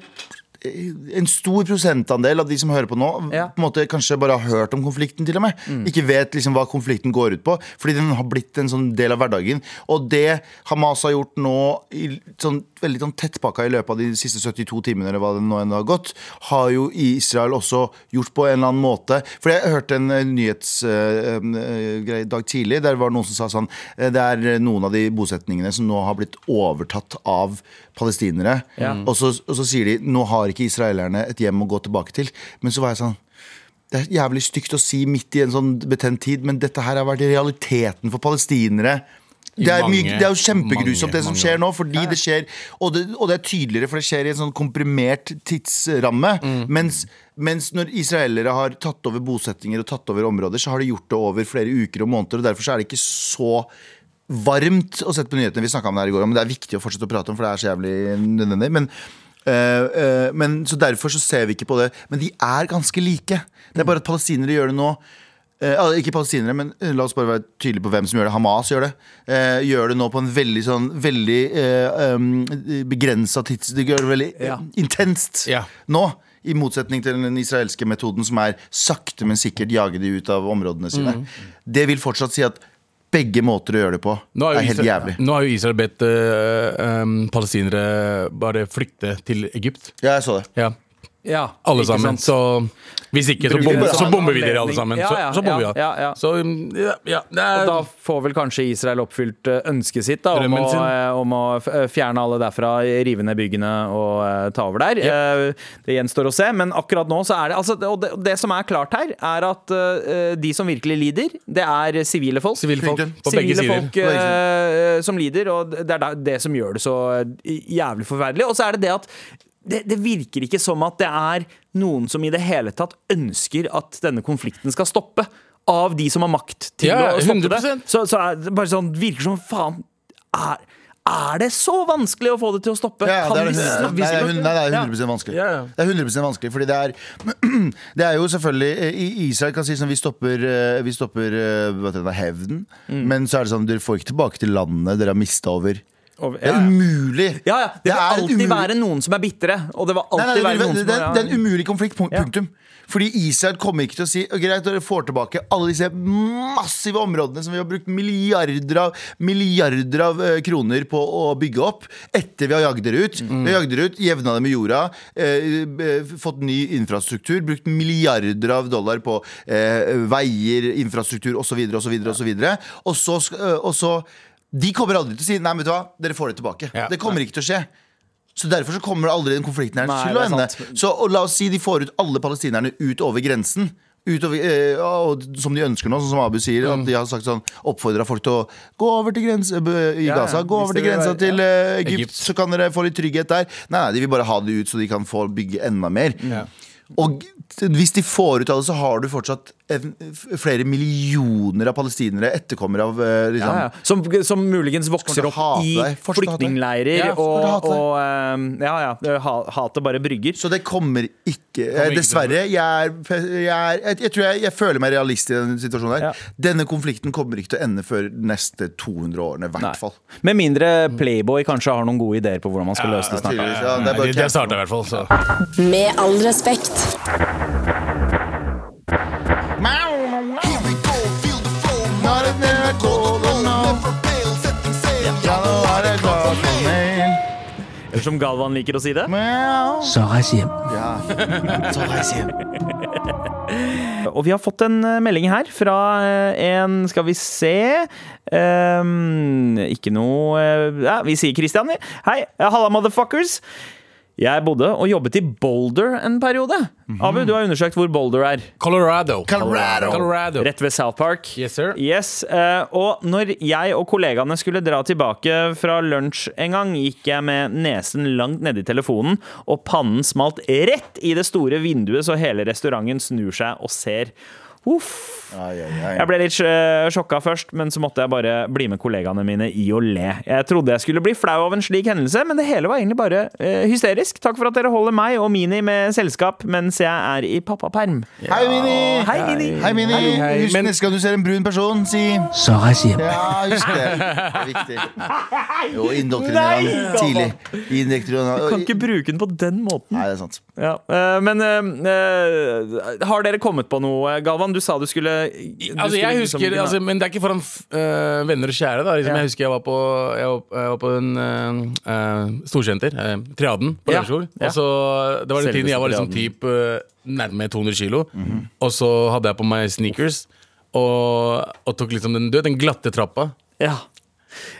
Speaker 2: en stor prosentandel av de som hører på nå,
Speaker 1: Ja. Mm.
Speaker 2: på en måte kanskje bare har hørt om konflikten. til og med Ikke vet liksom hva konflikten går ut på, fordi den har blitt en sånn del av hverdagen. Og det Hamas har gjort nå, i sånn, veldig sånn tettpakka i løpet av de siste 72 timene, eller hva det nå enn har gått, har jo Israel også gjort på en eller annen måte. For jeg hørte en eh, nyhetsgreie eh, i dag tidlig, der var det noen som sa sånn eh, Det er eh, noen av de bosetningene som nå har blitt overtatt av palestinere. Og, så, og så sier de nå har ikke israelerne et hjem å gå tilbake til. Men så var jeg sånn det er jævlig stygt å si midt i en sånn betent tid, men dette her har vært realiteten for palestinere. Det er,
Speaker 3: mange,
Speaker 2: mye, det er jo kjempegrusomt,
Speaker 3: mange,
Speaker 2: det som
Speaker 3: mange
Speaker 2: skjer nå. Fordi det skjer og det, og det er tydeligere, for det skjer i en sånn komprimert tidsramme. Mens, mens når israelere har tatt over bosettinger og tatt over områder, så har de gjort det over flere uker og måneder. Og Derfor så er det ikke så varmt å sette på nyhetene. Vi snakket om det her i går, men det er viktig å fortsette å prate om, for det er så jævlig nødvendig. Men, eh, eh, men så derfor så ser vi ikke på det. Men de er ganske like. Det er bare at palestinere gjør det nå. Eh, altså, ikke palestinere, men eh, la oss bare være tydelige på hvem som gjør det. Hamas gjør det. Eh, gjør det nå på en veldig sånn Veldig eh, um, begrensa tids... De gjør det veldig eh,
Speaker 1: Ja.
Speaker 2: intenst
Speaker 3: Ja.
Speaker 2: nå. I motsetning til den israelske metoden som er sakte, men sikkert jage de ut av områdene sine.
Speaker 3: Mm.
Speaker 2: Det vil fortsatt si at begge måter å gjøre det på
Speaker 3: Nå har
Speaker 2: er
Speaker 3: jo
Speaker 2: helt
Speaker 3: Israel,
Speaker 2: jævlig.
Speaker 3: nå har jo Israel bedt eh, em, palestinere bare flykte til Egypt.
Speaker 2: Ja, jeg så det.
Speaker 3: Ja,
Speaker 1: Ja,
Speaker 3: alle
Speaker 1: ikke
Speaker 3: sammen.
Speaker 1: sant?
Speaker 3: Så hvis ikke, så
Speaker 1: Bruker
Speaker 3: bomber,
Speaker 1: det som
Speaker 3: så
Speaker 1: en
Speaker 3: bomber vi dere
Speaker 1: anledning.
Speaker 3: alle sammen.
Speaker 1: Ja,
Speaker 3: Så,
Speaker 1: ja,
Speaker 3: så bomber vi
Speaker 1: ja,
Speaker 3: ja.
Speaker 1: ja, ja.
Speaker 3: Så mm, ja, ja, det
Speaker 1: Og
Speaker 3: er
Speaker 1: da får vel kanskje Israel oppfylt eh, ønsket sitt da, om, å,
Speaker 3: Drømmen sin.
Speaker 1: eh, om å f- eh, fjerne alle derfra, rive ned byggene og eh, ta over der. Eh, Det gjenstår å se, men akkurat nå så er det altså, det- Og det, og det som er klart her, er at eh, de som virkelig lider, det er sivile folk.
Speaker 3: sivilfolk på begge
Speaker 1: Sivile
Speaker 3: sider.
Speaker 1: folk eh, som lider, og det er da- det som gjør det så eh, jævlig forferdelig. Og så er det det at det, det virker ikke som at det er noen som i det hele tatt ønsker at denne konflikten skal stoppe. Av de som har makt til
Speaker 3: Ja,
Speaker 1: å stoppe det.
Speaker 3: 100%.
Speaker 1: Så, så er det bare sånn, virker som faen er, er det så vanskelig å få det til å stoppe?
Speaker 2: Ja,
Speaker 1: kan
Speaker 2: det er,
Speaker 1: vi
Speaker 2: nei,
Speaker 1: snakke
Speaker 2: nei, det er hun- nei, det er 100 vanskelig.
Speaker 3: Ja, ja.
Speaker 2: Det er 100 vanskelig, fordi det er Det er jo selvfølgelig i- Israel kan si sånn Vi stopper, eh, vi stopper eh, hva heter det, hevden,
Speaker 1: Mm.
Speaker 2: men så er det sånn Dere får ikke tilbake til landet dere har mista over.
Speaker 1: Over-
Speaker 2: Det er
Speaker 1: ja, ja.
Speaker 2: umulig!
Speaker 1: Ja, ja. Det
Speaker 2: Det
Speaker 1: vil
Speaker 2: er
Speaker 1: alltid
Speaker 2: umulig.
Speaker 1: være noen som er bitre. Og det vil alltid
Speaker 2: Nei, nei,
Speaker 1: være
Speaker 2: det,
Speaker 1: noen
Speaker 2: det,
Speaker 1: som
Speaker 2: det,
Speaker 1: er-
Speaker 2: det er en umulig konflikt, punk-
Speaker 1: Ja.
Speaker 2: punktum. Fordi Israel kommer ikke til å si «Å, Greit, dere får tilbake alle disse massive områdene som vi har brukt milliarder av, milliarder av eh, kroner på å bygge opp etter vi har jagd dere ut.
Speaker 1: Mm.
Speaker 2: Vi har jagd dere ut, jevna dem med jorda, eh, eh, fått ny infrastruktur, brukt milliarder av dollar på eh, veier, infrastruktur osv., osv., osv. Og så sk- eh, og så De kommer aldri til å si nei, vet du hva, dere får det tilbake.
Speaker 3: Ja.
Speaker 2: Det kommer ikke til å skje. Så Derfor så kommer aldri den konflikten her
Speaker 1: Nei,
Speaker 2: til å
Speaker 1: det er
Speaker 2: ende.
Speaker 1: sant.
Speaker 2: Så og La oss si de får ut alle palestinerne ut over grensen. Utover, eh, og, som de ønsker nå, sånn som Abu sier.
Speaker 1: Mm.
Speaker 2: At de har sagt sånn oppfordra folk til å gå over til grense b- i
Speaker 1: Ja, ja.
Speaker 2: Gaza. Gå
Speaker 1: Hvis
Speaker 2: over
Speaker 1: det
Speaker 2: til
Speaker 1: vil
Speaker 2: grensa
Speaker 1: være-
Speaker 2: til eh, Egypt,
Speaker 3: Egypt.
Speaker 2: så kan dere få litt trygghet der. Nei, nei, de vil bare ha det ut, så de kan få bygge enda mer.
Speaker 3: Ja.
Speaker 2: Og hvis de får ut av det, så har du fortsatt en, f- flere millioner av palestinere, etterkommere av eh, liksom,
Speaker 1: ja, ja. Som, som muligens vokser
Speaker 2: Kommer til å
Speaker 1: opp
Speaker 2: hate
Speaker 1: i
Speaker 2: deg. Fortsatt hate deg.
Speaker 1: flyktningleirer.
Speaker 3: Ja,
Speaker 2: kommer
Speaker 1: og
Speaker 2: til å hate deg.
Speaker 1: og eh, ja, ja, ha- hatet bare brygger.
Speaker 2: Så det kommer ikke, Eh,
Speaker 3: til å-
Speaker 2: Dessverre. Jeg, er, jeg, er, jeg, jeg tror jeg, jeg føler meg realist i denne situasjonen.
Speaker 1: Ja.
Speaker 2: her Denne konflikten kommer ikke til å ende før neste 200 årene, i hvert fall.
Speaker 1: Med mindre Playboy kanskje har noen gode ideer på hvordan man skal løse det snart.
Speaker 2: Tydeligvis, ja, det
Speaker 3: Nei,
Speaker 2: er
Speaker 3: de,
Speaker 2: bare
Speaker 3: de har
Speaker 2: å
Speaker 3: starta i hvert fall, så.
Speaker 5: Med all respekt.
Speaker 2: campe.
Speaker 1: Eller som Galvan liker å si det.
Speaker 4: Sarasiem.
Speaker 1: Og vi har fått en eh, melding her fra eh, en Skal vi se ehm, Ikke noe eh, ja, Vi sier Christian. vi. Hei. eh, Halla, motherfuckers. Jeg bodde og jobbet i Boulder en periode.
Speaker 3: Mhm.
Speaker 1: Abu, du har undersøkt hvor Boulder er.
Speaker 3: Colorado.
Speaker 2: Colorado.
Speaker 3: Colorado.
Speaker 1: Rett ved South Park.
Speaker 3: Yes, sir.
Speaker 1: Yes, eh, og når jeg og kollegaene skulle dra tilbake fra lunsj en gang, gikk jeg med nesen langt nedi telefonen, og pannen smalt rett i det store vinduet, så hele restauranten snur seg og ser. Uff.
Speaker 2: Ai, ai, ai.
Speaker 1: Jeg ble litt eh, sjokka først, men så måtte jeg bare bli med kollegaene mine i å le. Jeg trodde jeg skulle bli flau av en slik hendelse, men det hele var egentlig bare eh, hysterisk. Takk for at dere holder meg og Mini med selskap mens jeg er i pappaperm.
Speaker 2: Hei, Mini!
Speaker 1: Hei, Mini!
Speaker 2: Hei, Mini!
Speaker 3: hei,
Speaker 2: Husk
Speaker 3: men-
Speaker 2: neste gang du ser en brun person, si
Speaker 4: Sarasiem.
Speaker 2: Ja, husk det. Det er viktig. Jo, indoktrinere
Speaker 1: Nei,
Speaker 2: han tidlig. Indoktrinere
Speaker 1: Kan
Speaker 2: han-
Speaker 1: ikke bruke den på den måten.
Speaker 2: Nei, det er sant.
Speaker 1: Ja, eh, men eh, eh, har dere kommet på noe, Galvan? Du sa du skulle du
Speaker 3: Altså,
Speaker 1: skulle
Speaker 3: jeg
Speaker 1: liksom-
Speaker 3: husker, altså, Men det er ikke foran f- øh, venner og kjære. da liksom,
Speaker 1: Ja.
Speaker 3: Jeg husker jeg var på, jeg var, jeg var på en øh, øh, storsenter, øh, Triaden, på
Speaker 1: Ja.
Speaker 3: Lørenskog.
Speaker 1: Ja.
Speaker 3: Og så Det var den
Speaker 1: Selveste
Speaker 3: tiden jeg var liksom
Speaker 1: Triaden. Mhm.
Speaker 3: typ øh, nærme 200 kilo. Og så hadde jeg på meg sneakers og, og tok liksom den, du vet, den glatte trappa.
Speaker 1: Ja.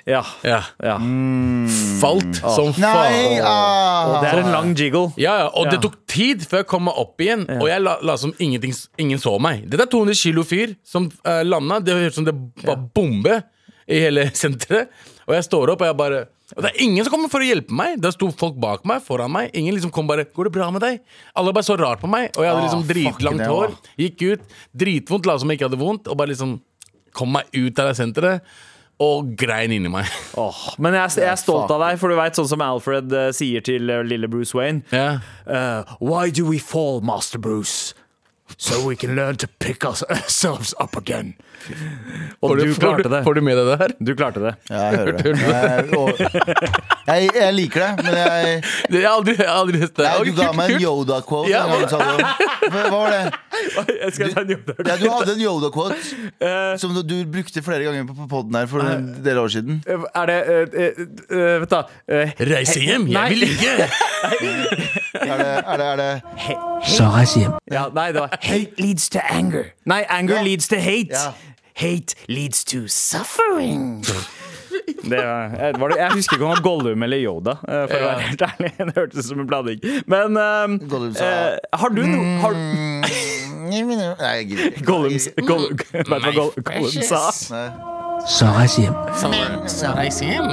Speaker 1: Ja.
Speaker 3: Ja.
Speaker 1: ja. Mm.
Speaker 3: Falt som
Speaker 2: Nei!
Speaker 3: faen.
Speaker 2: Ah.
Speaker 1: Det er en lang jiggle.
Speaker 3: Ja, ja, og
Speaker 1: Ja.
Speaker 3: det tok tid før jeg kom meg opp igjen. Og jeg la, la som ingenting, ingen så meg. Dette er 200 kilo fyr som uh, landa. Det hørtes som det var bombe i hele senteret. Og jeg står opp, og jeg bare Og det er ingen som kommer for å hjelpe meg. Der sto folk bak meg, foran meg. Ingen liksom kom bare 'Går det bra med deg?' Alle bare så rart på meg. Og jeg hadde
Speaker 2: Ah,
Speaker 3: liksom
Speaker 2: fuck
Speaker 3: dritlangt
Speaker 2: det,
Speaker 3: hår.
Speaker 2: da.
Speaker 3: Gikk ut, dritvondt, la som jeg ikke hadde vondt, og bare liksom kom meg ut av det senteret. Og grein inni meg.
Speaker 1: Åh, men jeg, jeg er stolt av deg, for du veit sånn som Alfred eh, sier til eh, lille Bruce Wayne.
Speaker 3: Ja.
Speaker 1: Eh, why do we fall, Master Bruce? So we can learn to pick ourselves up again. Og
Speaker 3: Får
Speaker 1: du
Speaker 3: får
Speaker 1: klarte det.
Speaker 3: Får du med deg det her?
Speaker 1: Du klarte det.
Speaker 2: Ja, jeg hører det. Jeg, og- jeg, jeg liker det, men jeg,
Speaker 3: Det- Jeg har aldri, jeg har aldri lest det.
Speaker 2: jeg
Speaker 3: Oi,
Speaker 2: Du ga
Speaker 3: kult,
Speaker 2: meg en
Speaker 3: kult.
Speaker 2: Yoda-quote.
Speaker 3: Ja,
Speaker 2: en gang du sa det. Hva hva var det?
Speaker 1: Jeg skal ta en jobb.
Speaker 2: Ja, du hadde en Yoda-quote som du- du brukte flere ganger på podden her for en del år siden.
Speaker 1: Er det eh, eh, eh, Vet da. eh,
Speaker 3: Reise hjem?
Speaker 1: Nei.
Speaker 3: Jeg vil ikke!
Speaker 2: Er det, er det, er det
Speaker 4: Sarasiem.
Speaker 1: Ja, nei, det var Hate leads to anger. Nei, anger
Speaker 2: Ja.
Speaker 1: leads to hate.
Speaker 2: Ja.
Speaker 1: Hate leads to suffering. Det var, jeg- var det, jeg husker ikke om det var Gollum eller Yoda, eh, for å være helt ærlig. Det hørtes ut som en blanding. Men ehm,
Speaker 2: Gollum sa- Mm,
Speaker 1: eh, har du noe har,
Speaker 2: Nei, jeg gidder ikke.
Speaker 1: Gollum, s- Goll- Vet du hva Goll- Gollum sa?
Speaker 2: Nei.
Speaker 4: Sarasiem.
Speaker 3: Reise hjem?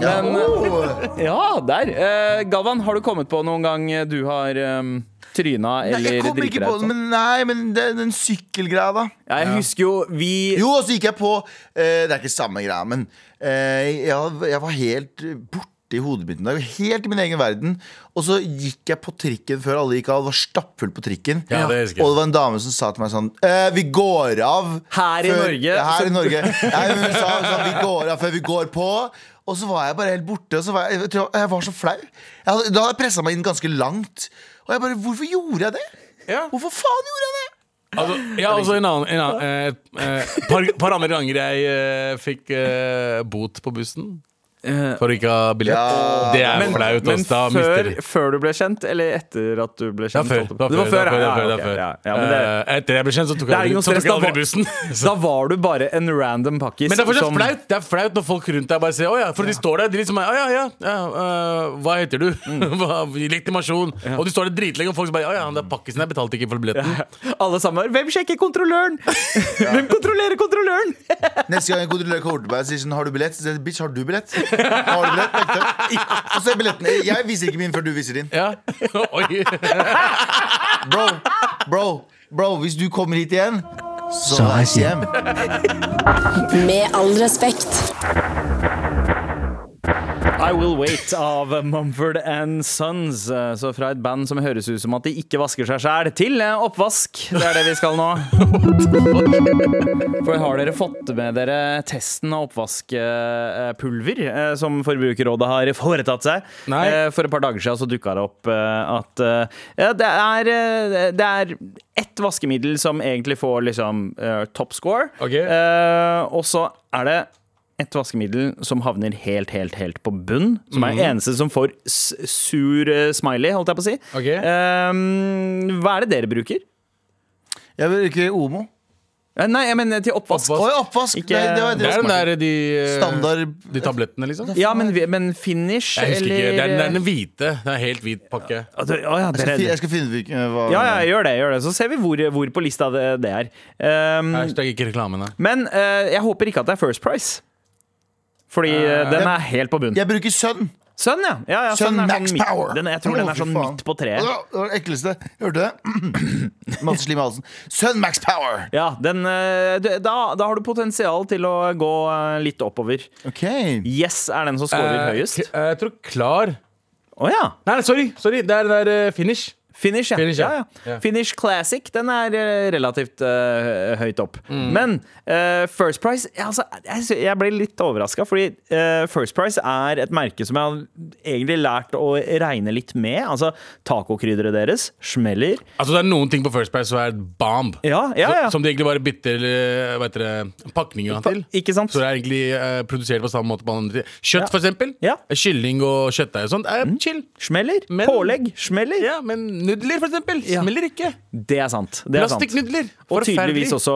Speaker 2: Ja. Oh! Åh.
Speaker 1: Ja, der. Eh, Galvan, har du kommet på noen gang eh, du har um, tryna eller
Speaker 2: Nei, jeg kommer
Speaker 1: driti
Speaker 2: ikke
Speaker 1: deg
Speaker 2: på
Speaker 1: ut?
Speaker 2: det, men nei, men det, den sykkelgreia, da.
Speaker 1: Ja, Jeg husker jo vi
Speaker 2: Jo, og så gikk jeg på eh, Det er ikke samme greia, men eh, jeg, jeg var helt borte i hodet mitt en dag. Helt i min egen verden. Og så gikk jeg på trikken før alle gikk av. Det var stappfullt på trikken.
Speaker 3: Ja, det husker jeg.
Speaker 2: Og det var en dame som sa til meg sånn eh, Vi går av
Speaker 1: Her i Norge,
Speaker 2: Ja,
Speaker 1: så-
Speaker 2: Her i Norge. Nei, men hun sa hun sa, vi går av før vi går på. Og så var jeg bare helt borte. Og så var jeg, jeg, tror jeg var så flau. Jeg hadde, da hadde jeg pressa meg inn ganske langt. Og jeg bare Hvorfor gjorde jeg det?
Speaker 3: Ja.
Speaker 2: Hvorfor faen gjorde jeg det?
Speaker 3: Altså, ja, altså en annen, en annen eh, eh, par, par andre ganger jeg eh, fikk eh, bot på bussen for å ikke ha billett.
Speaker 2: Eh, Ja.
Speaker 3: Det er
Speaker 1: Men-
Speaker 3: flaut.
Speaker 1: Men
Speaker 3: ass, da mister
Speaker 1: før,
Speaker 3: du.
Speaker 1: før du ble kjent, eller etter at du ble
Speaker 3: Det
Speaker 1: kjent?
Speaker 3: var før.
Speaker 1: holdt jeg
Speaker 3: Det
Speaker 1: på.
Speaker 3: var før, det var før, det
Speaker 1: ja,
Speaker 3: var før, det var
Speaker 1: ok, ja,
Speaker 3: før.
Speaker 1: ja, men det,
Speaker 3: Eh, Etter jeg ble kjent, så tok jeg
Speaker 1: Det er ikke
Speaker 3: aldri,
Speaker 1: noe
Speaker 3: så
Speaker 1: stress.
Speaker 3: tok jeg aldri bussen.
Speaker 1: Da,
Speaker 3: Så.
Speaker 1: da var du bare en random pakkis.
Speaker 3: Men det er fortsatt
Speaker 1: som-
Speaker 3: flaut Det er flaut når folk rundt deg bare sier 'Å ja', for de står der de liksom er, «Å ja, ja, ja eh, Hva heter du?
Speaker 1: Mm.
Speaker 3: Hva, legitimasjon. Og de står der dritlenge, og folk som bare 'Å ja, han der pakkisen der betalte ikke for billetten'.
Speaker 1: Alle sammen Hvem sjekker kontrolløren?! Hvem kontrollerer kontrolløren?!
Speaker 2: Neste gang en kontrollør kommer til meg og sier sånn Har du billett? Så sier jeg bitch, har du billett? Har du billett? Vent, da. Og så er billetten Jeg viser ikke min før du viser din.
Speaker 3: Ja. Oi.
Speaker 2: Bro, bro, bro, hvis du kommer hit igjen, så
Speaker 4: Så
Speaker 2: reis
Speaker 4: reis
Speaker 2: hjem.
Speaker 5: Med all respekt.
Speaker 1: I Will Wait av Mumford and Sons. eh, Så fra et band som høres ut som at de ikke vasker seg sjæl, til eh, oppvask. Det er det vi skal nå. For har dere fått med dere testen av oppvaskpulver eh, som Forbrukerrådet har foretatt seg?
Speaker 3: Nei.
Speaker 1: Eh, For et par dager siden så dukka det opp eh, at eh, ja, det er, eh, det er ett vaskemiddel som egentlig får liksom eh, top score,
Speaker 3: Ok.
Speaker 1: Eh, og så er det et vaskemiddel som havner helt, helt, helt på bunn. Som
Speaker 2: Mhm.
Speaker 1: er eneste som får s- sur eh, smiley, holdt jeg på å si.
Speaker 3: Ok.
Speaker 1: Eh, hva er det dere bruker?
Speaker 2: Jeg bruker Omo.
Speaker 1: Eh, Nei, jeg mener til oppvask.
Speaker 3: Oppvask.
Speaker 2: Oi, oppvask!
Speaker 1: Ikke-
Speaker 2: Nei, det var
Speaker 3: Det
Speaker 2: det
Speaker 3: er den der de
Speaker 1: øh,
Speaker 3: eh,
Speaker 2: Standard
Speaker 3: De tablettene, liksom. Jeg
Speaker 1: Ja, men, vi- men finish,
Speaker 3: husker
Speaker 1: eller eh,
Speaker 3: ikke. Det er, det er den hvite. Det er helt hvit pakke.
Speaker 1: Å, du- å, ja,
Speaker 2: Jeg skal, fi-
Speaker 1: dere,
Speaker 2: jeg skal finne ut hvilken øh, hva-
Speaker 1: ja, ja, gjør det, gjør det. Så ser vi hvor, hvor på lista det, det er. Ehm,
Speaker 3: Hashtag ikke reklame, nei.
Speaker 1: men eh, jeg håper ikke at det er First Price. Fordi eh, den er helt på bunn.
Speaker 2: Jeg bruker sønn.
Speaker 1: Sønn, ja. ja, ja
Speaker 2: Sønn
Speaker 1: er
Speaker 2: Max
Speaker 1: sånn midt,
Speaker 2: Power.
Speaker 1: Den, jeg tror den
Speaker 2: Å,
Speaker 1: er
Speaker 2: fy
Speaker 1: sånn
Speaker 2: faen.
Speaker 1: midt på treet.
Speaker 2: Å, Det var det ekleste. Hørte du det? Masse slim i halsen. Sønn Max Power!
Speaker 1: Ja, den, eh, du- da, da har du potensial til å gå eh, litt oppover.
Speaker 2: Ok
Speaker 1: Yes er den som scorer
Speaker 3: Eh,
Speaker 1: høyest.
Speaker 3: k- eh, Jeg tror klar
Speaker 1: Å ja!
Speaker 3: Nei, nei, sorry, sorry. Det er den der eh, finish.
Speaker 1: Finish, ja.
Speaker 3: Finish, ja.
Speaker 1: ja, ja.
Speaker 3: Ja.
Speaker 1: Finish Classic den er eh, relativt eh, høyt opp.
Speaker 3: Mm.
Speaker 1: Men eh, First Price ja, altså, jeg, sy- jeg ble litt overraska, fordi eh, First Price er et merke som jeg har egentlig lært å regne litt med. Altså tacokrydderet deres smeller.
Speaker 3: Altså Det er noen ting på First Price som er bomb.
Speaker 1: Ja, ja, ja.
Speaker 3: Som de egentlig bare bytter eh, hva heter det, pakninga til.
Speaker 1: Ikke sant?
Speaker 3: Så det er egentlig eh, produsert på samme måte på andre ting. Kjøtt,
Speaker 1: Ja.
Speaker 3: for eksempel. Eh,
Speaker 1: Ja. Mm.
Speaker 3: Kylling og kjøttdeig og sånt er chill.
Speaker 1: Smeller.
Speaker 3: Men-
Speaker 1: Pålegg smeller.
Speaker 3: Ja, men nudler, for eksempel,
Speaker 1: Ja.
Speaker 3: smeller ikke.
Speaker 1: Det er sant. Det er sant.
Speaker 3: Plastikknudler.
Speaker 1: Og
Speaker 3: Forferdelig.
Speaker 1: tydeligvis også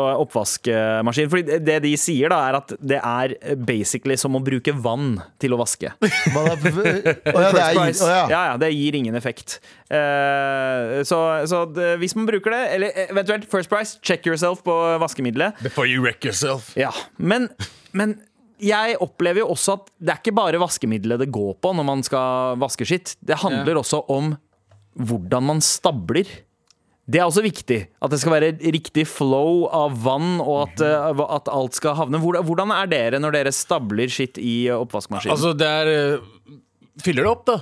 Speaker 1: oppvaskmaskin. Fordi det de sier, da, er at det er basically som å bruke vann til å vaske.
Speaker 2: Hva da? Å ja, det
Speaker 1: First
Speaker 2: er
Speaker 1: price.
Speaker 2: å,
Speaker 1: ja.
Speaker 2: ja.
Speaker 1: Ja, det gir ingen effekt. Eh, så så det, hvis man bruker det, eller eh, eventuelt First Price, check yourself på vaskemiddelet.
Speaker 3: Before you wreck yourself.
Speaker 1: Ja, men, men jeg opplever jo også at det er ikke bare vaskemiddelet det går på når man skal vaske skitt. Det handler også om hvordan man stabler. Det er også viktig. At det skal være riktig flow av vann, og at,
Speaker 3: Mhm.
Speaker 1: eh, hva- at alt skal havne. Hvordan hvordan er dere når dere stabler skitt i eh, oppvaskmaskinen?
Speaker 3: Altså, det er eh, Fyller det opp, da.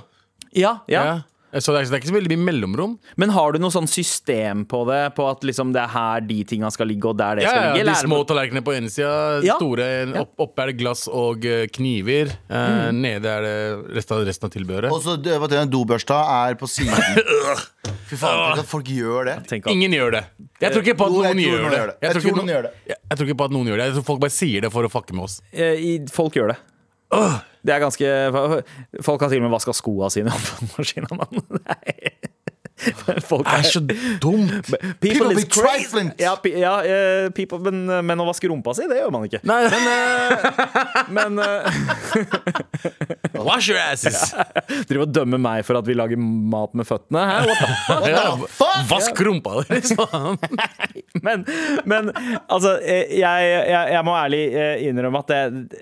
Speaker 1: ja, ja.
Speaker 3: Ja. Så det er, det er ikke så veldig mye mellomrom.
Speaker 1: Men har du noe sånn system på det? På at liksom det er her de tinga skal ligge, og der det
Speaker 3: Ja,
Speaker 1: skal
Speaker 3: ja,
Speaker 1: ligge?
Speaker 3: De
Speaker 1: eller er det-
Speaker 3: små tallerkenene på ene sida,
Speaker 1: Ja. Mm.
Speaker 3: store en- opp, Oppe er det glass og eh, kniver. eh, Nede er det resten av, resten av tilbehøret.
Speaker 2: Og så hva heter det, dobørsta er på siden.
Speaker 1: Øh.
Speaker 2: Fy faen, tenk at folk gjør det.
Speaker 1: Tenk at-
Speaker 3: Ingen gjør det. Jeg tror ikke på at
Speaker 2: Jo, jeg
Speaker 3: noen
Speaker 2: tror
Speaker 3: gjør
Speaker 2: noen
Speaker 3: det.
Speaker 2: gjør det.
Speaker 3: Jeg tror ikke
Speaker 2: noen gjør det.
Speaker 3: Jeg jeg tror ikke på at noen gjør det. Jeg tror folk bare sier det for å fucke med oss.
Speaker 1: Eh, i- Folk gjør det. Det er ganske Folk har til og med vaska skoa sine i oppvaskmaskina. mann. Nei. Folk
Speaker 3: Det er så dumt!
Speaker 2: People
Speaker 1: is
Speaker 2: be
Speaker 1: crazy.
Speaker 2: trifling.
Speaker 1: Ja, pe- ja, eh, people, men, men å vaske rumpa si, det gjør man ikke.
Speaker 3: Nei,
Speaker 1: Men eh,
Speaker 3: eh, wash your asses!
Speaker 1: driver og dømmer meg for at vi lager mat med føttene. Hæ? What the
Speaker 3: Ja,
Speaker 2: the fuck?
Speaker 3: Vask rumpa liksom. deres! faen.
Speaker 1: Men, men altså, eh, jeg, jeg, jeg må ærlig eh, innrømme at det,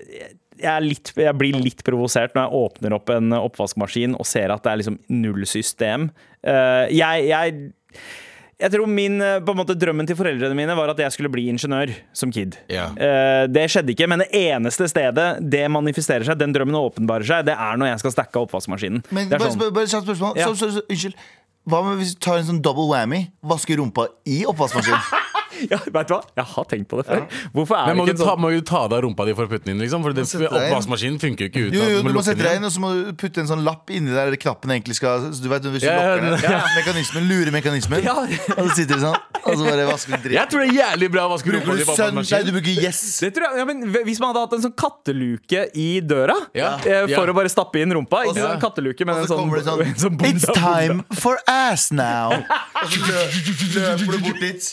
Speaker 1: jeg, er litt, jeg blir litt provosert når jeg åpner opp en oppvaskmaskin og ser at det er liksom null system. Eh, Jeg, jeg jeg tror min, eh, på en måte Drømmen til foreldrene mine var at jeg skulle bli ingeniør som kid.
Speaker 3: Ja.
Speaker 1: Eh, Det skjedde ikke, men det eneste stedet det manifesterer seg, den drømmen åpenbarer seg, det er når jeg skal stacke oppvaskmaskinen.
Speaker 2: Men
Speaker 1: det er
Speaker 2: bare,
Speaker 1: sånn.
Speaker 2: spør- bare kjapt spørsmål.
Speaker 1: Ja.
Speaker 2: Så, så, så, unnskyld. Hva med hvis du tar en sånn double whammy? Vasker rumpa i oppvaskmaskinen?
Speaker 1: ja, vet du hva? Jeg har tenkt på det før. Hvorfor er
Speaker 3: Men må
Speaker 1: det
Speaker 3: du,
Speaker 1: ikke
Speaker 3: ta,
Speaker 1: sånn?
Speaker 3: må du ta deg av rumpa di for å putte den inn? Liksom? For det,
Speaker 2: sette deg inn.
Speaker 3: Oppvaskmaskinen funker jo ikke uten
Speaker 2: Jo, jo,
Speaker 3: at
Speaker 2: du må
Speaker 3: lukke
Speaker 2: sette
Speaker 3: den
Speaker 2: deg
Speaker 3: inn.
Speaker 2: inn, og så må du putte en sånn lapp inni der eller knappen egentlig skal så Du vet, hvis du
Speaker 3: Ja,
Speaker 2: lokker
Speaker 3: ja,
Speaker 2: ned mekanismen, luremekanismen.
Speaker 1: Ja.
Speaker 2: Og så sitter du sånn, og så bare vasker du
Speaker 3: Jeg
Speaker 2: dritt.
Speaker 3: tror det er jævlig bra å vaske rumpa
Speaker 2: Bruker
Speaker 3: di
Speaker 2: du
Speaker 3: på
Speaker 2: sønn? Nei, du
Speaker 3: oppvaskmaskinen.
Speaker 2: bruker yes.
Speaker 1: Det tror jeg, ja, men Hvis man hadde hatt en sånn katteluke i døra
Speaker 3: Ja.
Speaker 1: eh, for
Speaker 3: Ja.
Speaker 1: å bare stappe inn rumpa Ikke
Speaker 2: Og så-
Speaker 1: sånn katteluke, men
Speaker 2: Og
Speaker 1: en
Speaker 2: så
Speaker 1: sånn,
Speaker 2: kommer det sånn
Speaker 1: en sånn
Speaker 2: It's
Speaker 1: bunda-
Speaker 2: time for ass now. Og så lø- løper du bort dit.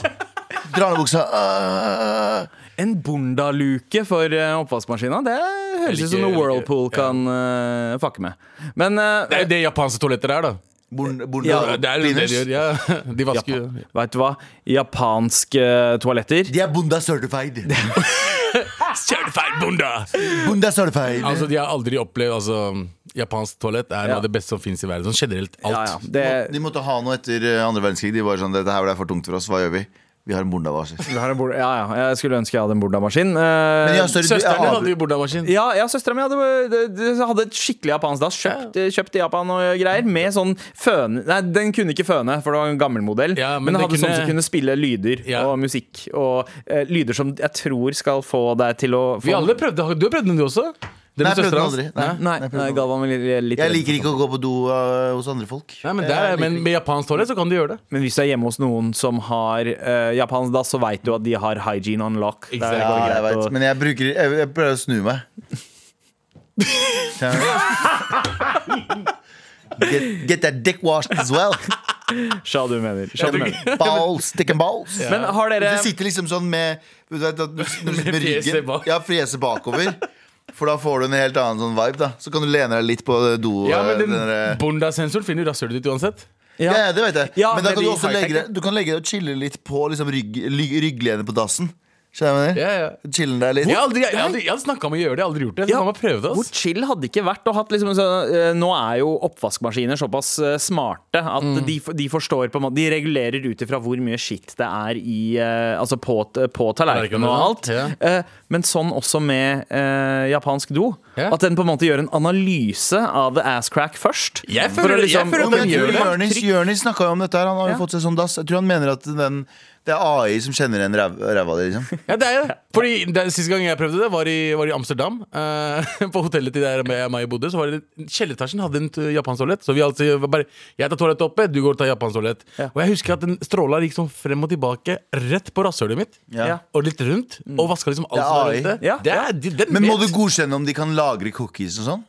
Speaker 2: Drar ned buksa. "Uh, øh.
Speaker 1: En bondaluke for eh, oppvaskmaskina. Det høres
Speaker 3: Jeg
Speaker 1: ut som
Speaker 3: liker-
Speaker 1: noe Whirlpool
Speaker 3: jeg liker- ja.
Speaker 1: kan eh, fucke med. Men eh,
Speaker 3: Det er det japanske toaletter er, da.
Speaker 2: Bond- bond-
Speaker 1: Ja,
Speaker 3: Det er jo det de gjør. Ja. De vasker jo
Speaker 1: Japan, vet du hva? Japanske eh, toaletter
Speaker 2: De er Bunda certified.
Speaker 3: Certified bunda!
Speaker 2: Bunda certified.
Speaker 3: Altså, de har aldri opplevd altså, Japansk toalett er
Speaker 1: Ja.
Speaker 3: noe av det beste som fins i verden. Sånn generelt alt.
Speaker 1: ja, ja, det,
Speaker 2: De måtte ha noe etter eh, andre verdenskrig. De var sånn, dette her ble for tungt for oss, hva gjør vi? Vi har en bondavarsel.
Speaker 1: ja, ja, Jeg skulle ønske jeg hadde en bondamaskin. eh,
Speaker 2: Men ja, sorry, du-
Speaker 3: Søsteren
Speaker 2: jeg
Speaker 3: din
Speaker 2: avbry-
Speaker 3: hadde jo bordamaskin.
Speaker 1: Ja, ja søstera mi hadde, det- det- hadde et skikkelig japansk dass. Kjøpt, kjøpt i Japan og greier. Med sånn føne Nei, den kunne ikke føne, for det var en gammel modell.
Speaker 3: Ja,
Speaker 1: men
Speaker 3: men
Speaker 1: den
Speaker 3: det
Speaker 1: hadde sånn
Speaker 3: kunne-
Speaker 1: som kunne spille lyder
Speaker 3: Ja.
Speaker 1: og musikk. Og eh, lyder som jeg tror skal få deg til å få
Speaker 3: Vi alle prøvde, du har prøvd den, du også? Det
Speaker 2: Nei,
Speaker 3: med
Speaker 2: jeg prøvde
Speaker 3: søsteren
Speaker 2: den
Speaker 3: hans.
Speaker 2: aldri.
Speaker 1: Nei,
Speaker 2: Nei.
Speaker 1: nei, nei Galvan vil litt
Speaker 2: Jeg liker ikke å gå på do eh, hos andre folk.
Speaker 3: Nei, men, der,
Speaker 2: Jeg liker
Speaker 3: men med japansk toalett så kan du gjøre det.
Speaker 1: Men hvis du er hjemme hos noen som har eh, japansk dass, så veit du at de har hygiene on lock. Der
Speaker 3: Exakt.
Speaker 1: går det
Speaker 2: Ja, jeg
Speaker 1: greit
Speaker 2: vet,
Speaker 1: å-
Speaker 2: men jeg bruker Jeg, jeg prøver å snu meg. Get, get that dick washed as well.
Speaker 1: Sja du mener. Sja du mener.
Speaker 2: Balls, stick and balls.
Speaker 1: Men eh, har dere
Speaker 2: Du sitter liksom sånn med du vet, at du, Når du sitter med
Speaker 3: fjeset
Speaker 2: ryggen
Speaker 3: bak.
Speaker 2: Ja, fjeset bakover. For da får du en helt annen sånn vibe. da Så kan du lene deg litt på do. eh,
Speaker 3: Ja, men den
Speaker 2: den der-
Speaker 3: Bonda-sensoren finner rasshølet ditt uansett.
Speaker 2: ja. ja, det vet jeg.
Speaker 1: Ja,
Speaker 2: men da
Speaker 1: med
Speaker 2: kan du
Speaker 1: de
Speaker 2: også legge
Speaker 1: high-tech.
Speaker 2: deg, du kan legge deg og chille litt på liksom, rygg, ly- rygglenet på dassen. Skjønner du?
Speaker 3: Ja, ja.
Speaker 2: Chille deg litt.
Speaker 3: Jeg har aldri, jeg, har aldri- jeg hadde snakka om å gjøre det, jeg har aldri gjort det. Så
Speaker 1: Ja.
Speaker 3: la meg prøve det.
Speaker 1: hvor
Speaker 3: ass.
Speaker 1: chill hadde ikke vært å hatt liksom en sånn, eh, Nå er jo oppvaskmaskiner såpass eh, smarte at
Speaker 2: Mm.
Speaker 1: de, f- de forstår på en måte De regulerer ut ifra hvor mye skitt det er i eh, Altså på, t- på tallerkenen og alt.
Speaker 3: Ja.
Speaker 1: Eh, Men sånn også med eh, japansk do.
Speaker 3: Ja.
Speaker 1: At den på en måte gjør en analyse av the ass crack først.
Speaker 3: Jeg
Speaker 1: For å liksom
Speaker 3: føler- jeg føler at
Speaker 2: Jo, men
Speaker 3: den
Speaker 2: jeg
Speaker 3: gjør
Speaker 2: tror Jonis,
Speaker 3: det.
Speaker 2: Jonis snakka jo om dette. her Han har jo
Speaker 1: Ja.
Speaker 2: fått seg sånn dass. Jeg tror han mener at den, det er AI som kjenner igjen ræv- ræva di. Liksom.
Speaker 3: Ja, det er det. Fordi det, Siste gang jeg prøvde det, var i, var i Amsterdam. Eh, på hotellet til der jeg, meg bodde, så var det kjelleretasjen hadde en t- japansk toalett. Så vi alltid var bare Jeg tar toalettet oppe, du går og tar japansk toalett. Og jeg husker at den stråla gikk sånn frem og tilbake rett på rasshølet mitt.
Speaker 2: Ja.
Speaker 1: Ja.
Speaker 3: Og litt rundt. Og vaska liksom
Speaker 2: Det
Speaker 3: alt
Speaker 2: er
Speaker 3: som var
Speaker 2: AI.
Speaker 3: rundt det.
Speaker 1: Ja.
Speaker 3: det er, de, den
Speaker 2: Men må du
Speaker 3: vet.
Speaker 2: godkjenne om de kan lagre cookies og sånn?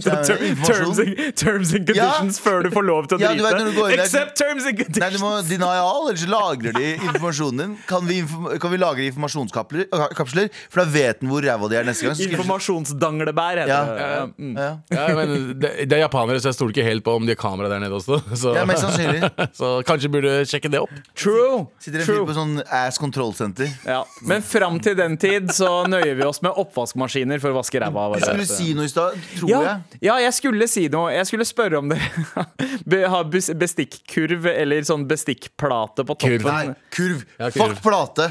Speaker 1: Ter- Terms and, terms and conditions før du får lov til å
Speaker 2: Ja,
Speaker 1: drite.
Speaker 2: du vet når du går inn der-
Speaker 1: Except terms and conditions!
Speaker 2: Nei, du må deny all, ellers lagrer de informasjonen din. Kan vi, inform kan vi lagre informasjonskapsler? kapsler? For da vet den hvor ræva de er neste gang. Så skal-
Speaker 1: Informasjonsdanglebær heter
Speaker 2: Ja.
Speaker 1: det. Ja. Mm.
Speaker 2: ja.
Speaker 3: ja, men det, det er japanere, så jeg stoler ikke helt på om de har kamera der nede også. Så,
Speaker 2: ja, mest sannsynlig.
Speaker 3: så kanskje burde sjekke det opp.
Speaker 1: True.
Speaker 2: Sitter en fyr
Speaker 1: True.
Speaker 2: på sånn ass kontrollsenter.
Speaker 1: Ja. Men fram til den tid så nøyer vi oss med oppvaskmaskiner for å vaske ræva. av
Speaker 2: Du skulle
Speaker 1: hverandre.
Speaker 2: si noe i stad, tror
Speaker 1: ja,
Speaker 2: jeg.
Speaker 1: ja, jeg skulle si noe. Jeg skulle spørre om dere be- har bes- bestikkurv eller sånn bestikkplate på
Speaker 3: Kurv.
Speaker 1: toppen.
Speaker 2: Nei, kurv.
Speaker 3: Ja, kurv.
Speaker 2: Fuck plate.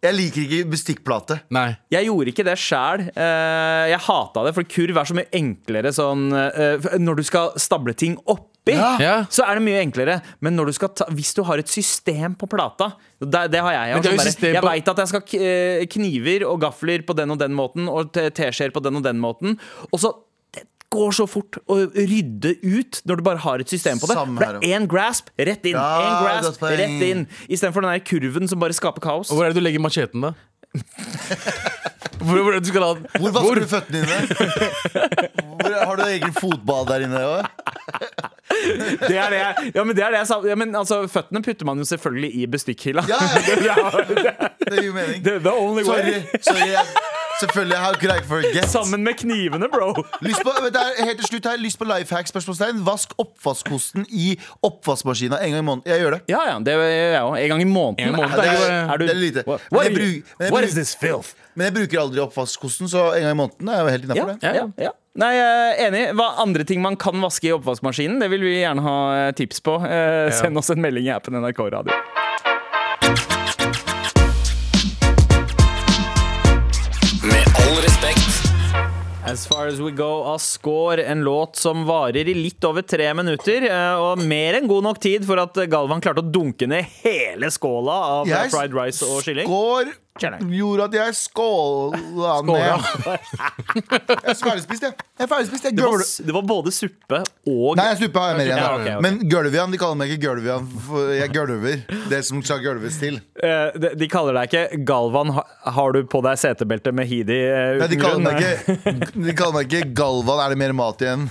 Speaker 2: Jeg liker ikke bestikkplate.
Speaker 3: Nei.
Speaker 1: Jeg gjorde ikke det sjæl. Jeg hata det, for kurv er så mye enklere sånn eh, f- Når du skal stable ting oppi,
Speaker 2: Ja.
Speaker 3: Ja.
Speaker 1: så er det mye enklere. Men når du skal ta, hvis du har et system på plata Det, det har jeg. Jeg,
Speaker 3: Men
Speaker 1: har
Speaker 3: det er
Speaker 1: sånn
Speaker 3: jo
Speaker 1: bare-
Speaker 3: system
Speaker 1: jeg
Speaker 3: på-
Speaker 1: veit at jeg skal k- eh, kniver og gafler på den og den måten, og te- teskjeer på den og den måten. Og så det går så fort å rydde ut når du bare har et system på det.
Speaker 2: Samme
Speaker 1: For det er én grasp, rett inn.
Speaker 2: Ja,
Speaker 1: en
Speaker 2: godt
Speaker 1: grasp,
Speaker 2: poeng.
Speaker 1: rett inn. Istedenfor den der kurven som bare skaper kaos.
Speaker 3: Og hvor er det du legger macheten, da? Hvor, hvor er det du skal ha den?
Speaker 2: Hvor vasker du føttene dine? Hvor, har du egen fotbad der inne? også?
Speaker 1: Det er det jeg, ja, men det er det jeg sa. Ja, men altså, føttene putter man jo selvfølgelig i bestikkhylla.
Speaker 2: Ja, ja,
Speaker 1: Ja,
Speaker 2: det gir jo mening.
Speaker 1: the, the only
Speaker 2: Sorry.
Speaker 1: way.
Speaker 2: sorry jeg, selvfølgelig. How could I forget?
Speaker 1: Sammen med knivene, bro.
Speaker 2: Lyst på, det er helt til slutt her, lyst på lifehack? Spørsmålstegn. Vask oppvaskkosten i oppvaskmaskina en gang i måneden. Jeg gjør det.
Speaker 1: Ja, ja, det gjør jeg òg. En gang i måneden.
Speaker 3: En gang i måneden.
Speaker 2: Ja, det er-
Speaker 1: Er du-
Speaker 2: det er lite.
Speaker 1: What,
Speaker 2: Men
Speaker 1: what,
Speaker 2: jeg
Speaker 1: are you-
Speaker 2: bruk- men jeg
Speaker 1: what
Speaker 2: bruk-
Speaker 1: is this filth?
Speaker 2: Men jeg bruker aldri oppvaskkosten, så en gang i måneden er jeg helt
Speaker 1: Ja,
Speaker 2: innafor det.
Speaker 1: ja, ja. Nei, jeg er enig. Hva andre ting man kan vaske i oppvaskmaskinen? Det vil vi gjerne ha eh, tips på. Eh, Send oss en melding i appen NRK Radio.
Speaker 6: Med all respekt.
Speaker 1: As Far As We Go av Score, en låt som varer i litt over tre minutter. eh, Og mer enn god nok tid for at eh, Galvan klarte å dunke ned hele skåla av eh,
Speaker 2: Jeg
Speaker 1: fried rice og kylling.
Speaker 2: skår
Speaker 1: Kjenner.
Speaker 2: gjorde at jeg skåla ned. Jeg er ferdigspist, jeg. jeg, er ferdigspist, jeg.
Speaker 1: Det var,
Speaker 2: Gulv.
Speaker 1: s- det var både suppe og
Speaker 2: Nei, jeg slupper har jeg mer igjen.
Speaker 1: Ja, ok, ok.
Speaker 2: Men Gulvian, de kaller meg ikke Gulvian, for jeg gulver. Det som skal gulves til.
Speaker 1: eh, de, de kaller deg ikke 'Galvan, ha- har du på deg setebelte med Heidi?' eh,
Speaker 2: Nei, de
Speaker 1: uten
Speaker 2: kaller
Speaker 1: grunn?»
Speaker 2: meg ikke, de kaller meg ikke Galvan, er det mer mat igjen?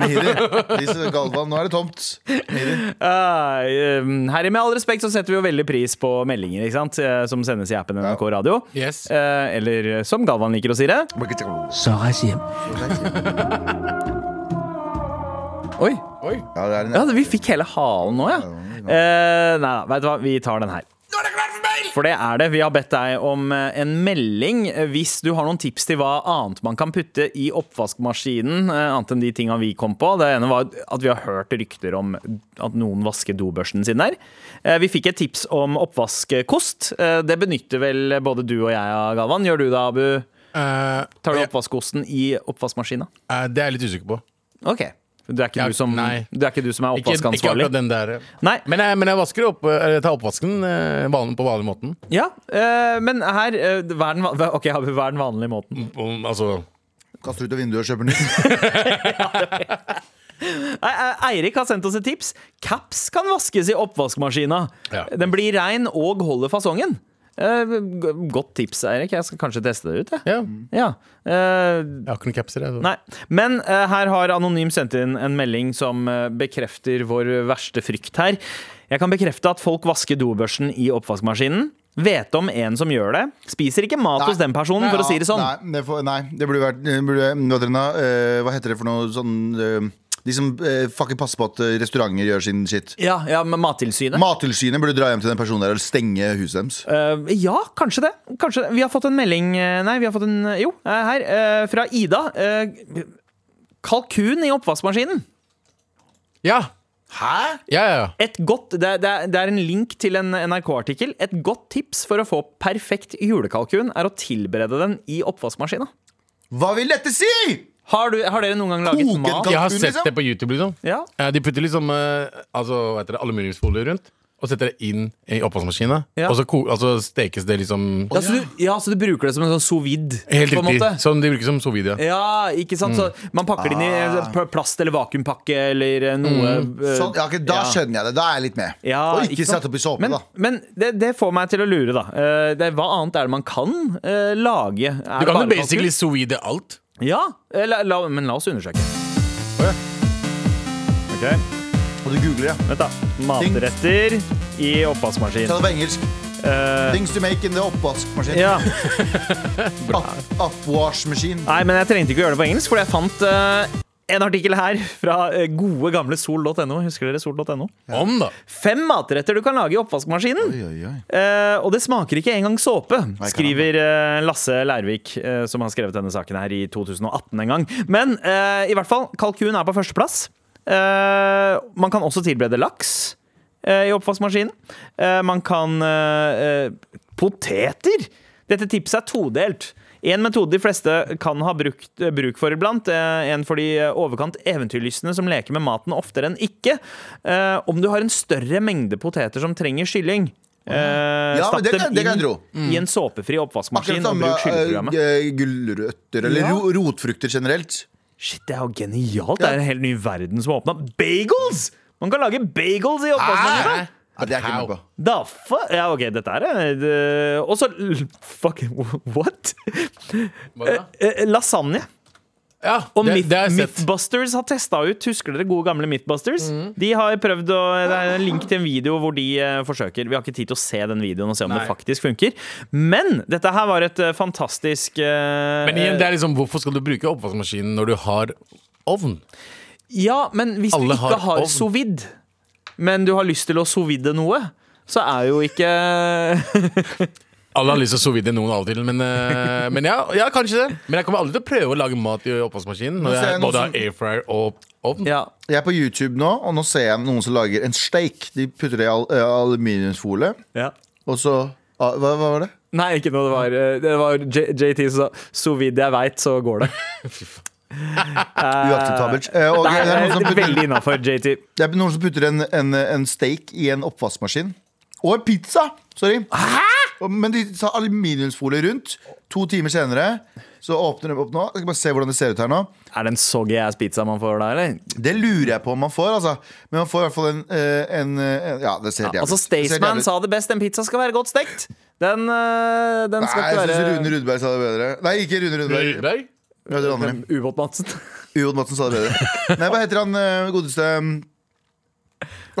Speaker 2: Mihiri. De sier Galvan, nå er det tomt. Mihiri.
Speaker 1: Ah, eh, Herre, med all respekt så setter vi jo veldig pris på meldinger ikke sant? eh, som sendes i appen NRK Radio.
Speaker 3: Yes.
Speaker 1: Eh, eller som Galvan liker å si det.
Speaker 4: Sarasiem,
Speaker 1: Oi,
Speaker 3: Oi.
Speaker 2: Ja, det er en,
Speaker 1: Ja, vi fikk hele halen nå, ja. Eh, nei, vet du hva, vi tar den her. For det er det. Vi har bedt deg om eh, en melding eh, hvis du har noen tips til hva annet man kan putte i oppvaskmaskinen, eh, annet enn de tinga vi kom på. Det ene var at vi har hørt rykter om at noen vasker dobørsten sin der. Eh, Vi fikk et tips om oppvaskkost. Eh, Det benytter vel både du og jeg, Galvan. Gjør du det, Abu?
Speaker 3: Eh,
Speaker 1: Tar du
Speaker 3: jeg-
Speaker 1: oppvaskkosten i oppvaskmaskina?
Speaker 3: eh, det er jeg litt usikker på.
Speaker 1: OK. Det er ikke,
Speaker 3: Ja,
Speaker 1: du, som,
Speaker 3: nei.
Speaker 1: det er, ikke du som er
Speaker 3: Ikke, ikke
Speaker 1: oppvaskansvarlig?
Speaker 3: akkurat den der.
Speaker 1: Nei.
Speaker 3: Men jeg, men jeg vasker opp, eller jeg tar oppvasken eh, van- på vanlig måten.
Speaker 1: Ja, eh, men her eh, hva er den, va- hva- Ok, Abu, hva er den vanlige måten?
Speaker 3: Om- altså
Speaker 2: Kaster ut av vinduet og kjøper nytt.
Speaker 1: Nei, eh, Eirik har sendt oss et tips. Caps kan vaskes i oppvaskmaskina.
Speaker 3: Ja.
Speaker 1: Den blir rein og holder fasongen. Eh, g- Godt tips, Eirik. Jeg skal kanskje teste det ut. Jeg.
Speaker 3: Ja.
Speaker 1: Ja. Eh,
Speaker 3: Jeg har ikke noen capser, jeg. så-
Speaker 1: nei. Men eh, her har Anonym sendt inn en melding som eh, bekrefter vår verste frykt her. Jeg kan bekrefte at folk vasker dobørsten i oppvaskmaskinen. Vet om en som gjør det. Spiser ikke mat hos den personen, for å si det sånn.
Speaker 2: Nei, det, får- nei, det burde vært det burde, vet dere nå, eh, Hva heter det for noe sånn eh, De som eh, fucking passer på at eh, restauranter gjør sin shit.
Speaker 1: Ja, ja, med Mattilsynet.
Speaker 2: Mattilsynet burde dra hjem til den personen der og stenge huset deres.
Speaker 1: Eh, ja, kanskje det. kanskje det. Vi har fått en melding eh, Nei, vi har fått en eh, Jo, eh, her. eh, fra Ida. Eh, kalkun i oppvaskmaskinen.
Speaker 3: Ja.
Speaker 2: Hæ?
Speaker 3: Ja, ja, ja.
Speaker 1: Et godt, det, er- det, er- det er en link til en NRK-artikkel. Et godt tips for å få perfekt julekalkun er å tilberede den i oppvaskmaskina.
Speaker 2: Hva vil dette si?!
Speaker 1: Har, du, har dere noen gang laget
Speaker 2: Koket
Speaker 1: mat?
Speaker 2: kalkun?
Speaker 3: Jeg har
Speaker 2: Kalkun,
Speaker 3: sett
Speaker 2: liksom?
Speaker 3: det på YouTube, liksom.
Speaker 1: Ja.
Speaker 3: Eh, De putter liksom eh, altså, hva heter det, aluminiumsfolie rundt. Og setter det inn i oppvaskmaskina.
Speaker 1: Ja.
Speaker 3: Og så ko altså, stekes det liksom
Speaker 1: Ja, så du, ja, så du bruker det som en sånn sous vide?
Speaker 3: Helt
Speaker 1: på en
Speaker 3: riktig.
Speaker 1: måte. Eh,
Speaker 3: Sånn de bruker som sovidia.
Speaker 1: Ja, ikke sant? Så man pakker det inn i pl- plast- eller vakuumpakke eller noe. eh,
Speaker 2: Sånn, ja, ok, da
Speaker 1: ja.
Speaker 2: skjønner jeg det. Da er jeg litt med.
Speaker 1: Ja,
Speaker 2: og ikke,
Speaker 1: sant?
Speaker 2: satt opp i såpe,
Speaker 1: men,
Speaker 2: da.
Speaker 1: Men det, det får meg til å lure, da. Eh, det, er- hva annet er det man kan eh, lage? Er
Speaker 3: Du
Speaker 1: det
Speaker 3: kan
Speaker 1: bare
Speaker 3: jo basically
Speaker 1: kalkun?
Speaker 3: sovide alt.
Speaker 1: Ja, eh, la, la, men la oss undersøke. Ok,
Speaker 2: Og du googler, ja.
Speaker 1: Vent, da. Matretter i oppvaskmaskin.
Speaker 2: Ta det på engelsk. Things to make in the
Speaker 1: Eh.
Speaker 2: oppvaskmaskin.
Speaker 1: Ja.
Speaker 2: Up, upwash machine.
Speaker 1: Nei, men jeg trengte ikke å gjøre det på engelsk, for jeg fant eh, en artikkel her fra eh, gode gamle sol.no. Husker dere sol.no?
Speaker 3: Om, da!
Speaker 1: Fem matretter du kan lage i oppvaskmaskinen.
Speaker 2: Oi, oi, oi.
Speaker 1: Eh, og det smaker ikke engang såpe,
Speaker 2: kan
Speaker 1: skriver eh, Lasse Lærvik, eh, som har skrevet denne saken her i 2018 en gang. Men eh, i hvert fall, kalkun er på førsteplass. Eh, man kan også tilberede laks eh, i oppvaskmaskinen. Eh, man kan eh, eh, Poteter! Dette tipset er todelt. En metode de fleste kan ha brukt, eh, bruk for iblant. eh, En for de eh, overkant eventyrlystne som leker med maten oftere enn ikke. Eh, om du har en større mengde poteter som trenger kylling, eh,
Speaker 2: Ja,
Speaker 1: stapp
Speaker 2: men det
Speaker 1: dem
Speaker 2: kan- det kan jeg
Speaker 1: inn
Speaker 2: tro. Mm.
Speaker 1: i en såpefri oppvaskmaskin
Speaker 2: Akkurat
Speaker 1: og bruk
Speaker 2: samme
Speaker 1: skylleprogrammet.
Speaker 2: eh, gulrøtter, eller
Speaker 1: Ja.
Speaker 2: ro rotfrukter generelt.
Speaker 1: Shit, det er jo genialt! Det er en helt ny verden som har åpna. Bagels! Man kan lage bagels i oppvaskmaskinen!
Speaker 2: Ja, det er jeg ikke med på.
Speaker 1: Da fa... Ja, OK, dette er eh, det- Og så l- Fuck, what?
Speaker 3: Hva da?
Speaker 1: Eh, Lasagne.
Speaker 3: Ja,
Speaker 1: Og
Speaker 3: det,
Speaker 1: Myth,
Speaker 3: det har jeg sett. Mm.
Speaker 1: Mythbusters har testa ut. Husker dere gode gamle Mythbusters? De har prøvd å, Det er en link til en video hvor de eh, forsøker. Vi har ikke tid til å se den videoen og se om
Speaker 3: Nei.
Speaker 1: det faktisk funker. Men dette her var et eh, fantastisk eh,
Speaker 3: Men igjen, det er liksom, hvorfor skal du bruke oppvaskmaskinen når du har ovn?
Speaker 1: Ja, men hvis du
Speaker 3: Alle
Speaker 1: ikke
Speaker 3: har
Speaker 1: har
Speaker 3: ovn.
Speaker 1: sous vide, men du har lyst til å sous vide noe, så er jo ikke
Speaker 3: Alle har lyst til å sovide noen av og til, men, eh, men ja, ja, kanskje det. Men jeg kommer aldri til å prøve å lage mat i oppvaskmaskinen når
Speaker 2: ser jeg
Speaker 3: jeg
Speaker 2: noen
Speaker 3: både
Speaker 2: som-
Speaker 3: har air fryer og ovn.
Speaker 1: Ja.
Speaker 2: Jeg er på YouTube nå, og nå ser jeg noen som lager en steak. De putter det i al eh, aluminiumsfolie,
Speaker 1: ja.
Speaker 2: og så ah, hva, hva var det?
Speaker 1: Nei, ikke noe. Det var, eh, det var J JT som sa sous vide jeg veit, så går det.
Speaker 2: Uakseptabelt. Eh, og
Speaker 1: Det
Speaker 2: det er
Speaker 1: er
Speaker 2: noen som
Speaker 3: liksom
Speaker 2: putter,
Speaker 1: veldig innafor, JT.
Speaker 2: det er noen som putter en, en, en steak i en oppvaskmaskin. Og en pizza! Sorry. Og- Men de tar aluminiumsfolie rundt. To timer senere så åpner de opp nå. Jeg skal bare se hvordan det ser ut her nå.
Speaker 1: Er det en soggy ass pizza man får da, eller?
Speaker 2: Det lurer jeg på om man får, altså. Men man får i hvert fall en, eh, en, eh, Ja, det ser helt jævlig
Speaker 1: Altså,
Speaker 2: ut. Det ser helt
Speaker 1: Staysman
Speaker 2: jævlig ut.
Speaker 1: sa det best, en pizza skal være godt stekt. Den, øh, den skal
Speaker 2: Nei, jeg
Speaker 1: ikke
Speaker 2: syns Rune
Speaker 1: være
Speaker 2: Rudberg sa det bedre. Nei, ikke Rune Rudberg.
Speaker 3: Rødberg?
Speaker 2: Hva heter han andre?
Speaker 1: Ubåt Madsen.
Speaker 2: Jon Madsen sa det bedre. Nei, hva heter han eh, godeste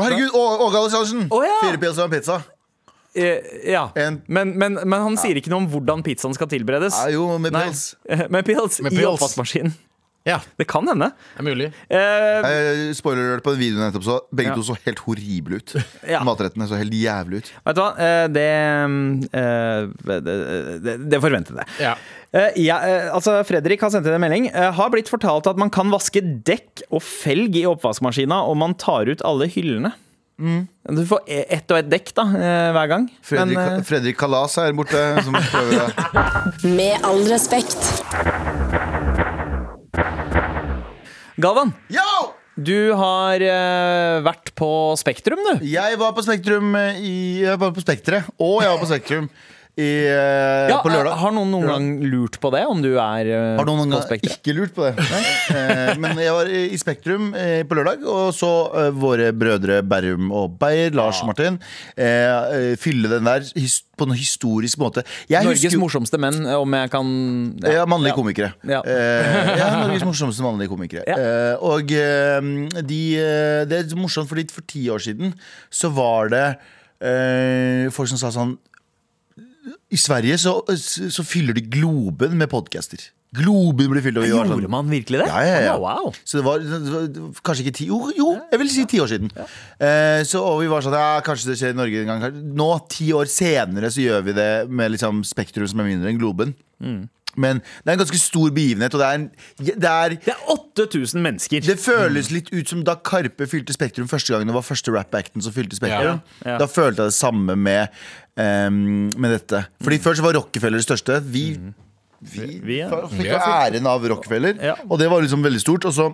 Speaker 2: Å, herregud! Å- Åge Aleksandersen!
Speaker 1: Å, ja.
Speaker 2: Fire pils og en pizza.
Speaker 1: Eh, Ja.
Speaker 2: En-
Speaker 1: Men, men, men han sier ikke noe om hvordan pizzaen skal tilberedes.
Speaker 2: Ja, jo, med
Speaker 1: Nei.
Speaker 2: pils.
Speaker 1: Eh, Med pils
Speaker 3: Med
Speaker 1: i
Speaker 3: pils.
Speaker 1: oppvaskmaskinen.
Speaker 3: Ja,
Speaker 1: Det kan hende.
Speaker 3: det er mulig.
Speaker 1: Eh,
Speaker 2: Eh, spoiler alert på den videoen jeg nettopp så. Begge
Speaker 1: Ja.
Speaker 2: to så helt horrible ut.
Speaker 1: Ja.
Speaker 2: Matrettene så helt jævlig ut.
Speaker 1: vet du hva, Eh, det, eh, det, det, det forventet jeg.
Speaker 3: Ja.
Speaker 1: Eh, ja, eh, altså Fredrik har sendt inn en melding. Eh, har blitt fortalt at man kan vaske dekk og felg i oppvaskmaskina om man tar ut alle hyllene. Du får e- ett og ett dekk da, eh, hver gang.
Speaker 2: Fredrik,
Speaker 1: Men, eh,
Speaker 2: Fredrik Kalas her borte. Som prøver å
Speaker 5: Med all respekt.
Speaker 1: eh, Galvan,
Speaker 2: Yo!
Speaker 1: du har eh, vært på Spektrum, du.
Speaker 2: Jeg var på Spektrum eh, i Jeg var på Spektret, og jeg var på Spektrum i, eh,
Speaker 1: Ja,
Speaker 2: på lørdag.
Speaker 1: Har noen noen gang lurt på det, om du er eh,
Speaker 2: Har noen
Speaker 1: på
Speaker 2: gang
Speaker 1: Spektrum?
Speaker 2: ikke lurt på det? Nei. Eh, Men jeg var i Spektrum eh, på lørdag, og så eh, våre brødre Berrum og Beyer, Lars og Martin, eh, eh, fylle den der his- på en historisk måte. Jeg
Speaker 1: Norges
Speaker 2: husker jo-
Speaker 1: morsomste menn, om jeg kan
Speaker 2: Ja, mannlige komikere.
Speaker 1: Ja.
Speaker 2: Eh, ja, Norges morsomste mannlige komikere.
Speaker 1: Ja.
Speaker 2: Eh, og eh, de, eh, det er morsomt, fordi for ti år siden så var det eh, folk som sa sånn I Sverige så, så fyller de Globen med podcaster. Globen blir fylt. og vi var sånn-
Speaker 1: Gjorde man virkelig det?
Speaker 2: Ja, ja, ja.
Speaker 1: Å, Wow.
Speaker 2: Så det var, det var det var kanskje ikke ti Jo, jo jeg vil si ti år siden. Eh, så, og vi var sånn ja, Kanskje det skjer i Norge en gang. kanskje- Nå, ti år senere, så gjør vi det med liksom Spektrum som er mindre enn Globen.
Speaker 1: Mm.
Speaker 2: Men det er en ganske stor begivenhet, og det er, en, det er
Speaker 1: Det er 8000 mennesker.
Speaker 2: det føles
Speaker 1: Mm.
Speaker 2: litt ut som da Karpe fylte Spektrum første gangen. Det var første rap-acten som fylte Spektrum.
Speaker 1: Ja, ja.
Speaker 2: Da følte jeg det samme med, ehm, med dette. Fordi før så var Rockefeller det største. Vi, vi,
Speaker 1: Mm. Vi, ja.
Speaker 2: fikk
Speaker 3: Vi
Speaker 2: jo
Speaker 3: er
Speaker 2: æren av Rockefeller,
Speaker 1: Ja.
Speaker 2: og det var liksom veldig stort. Og så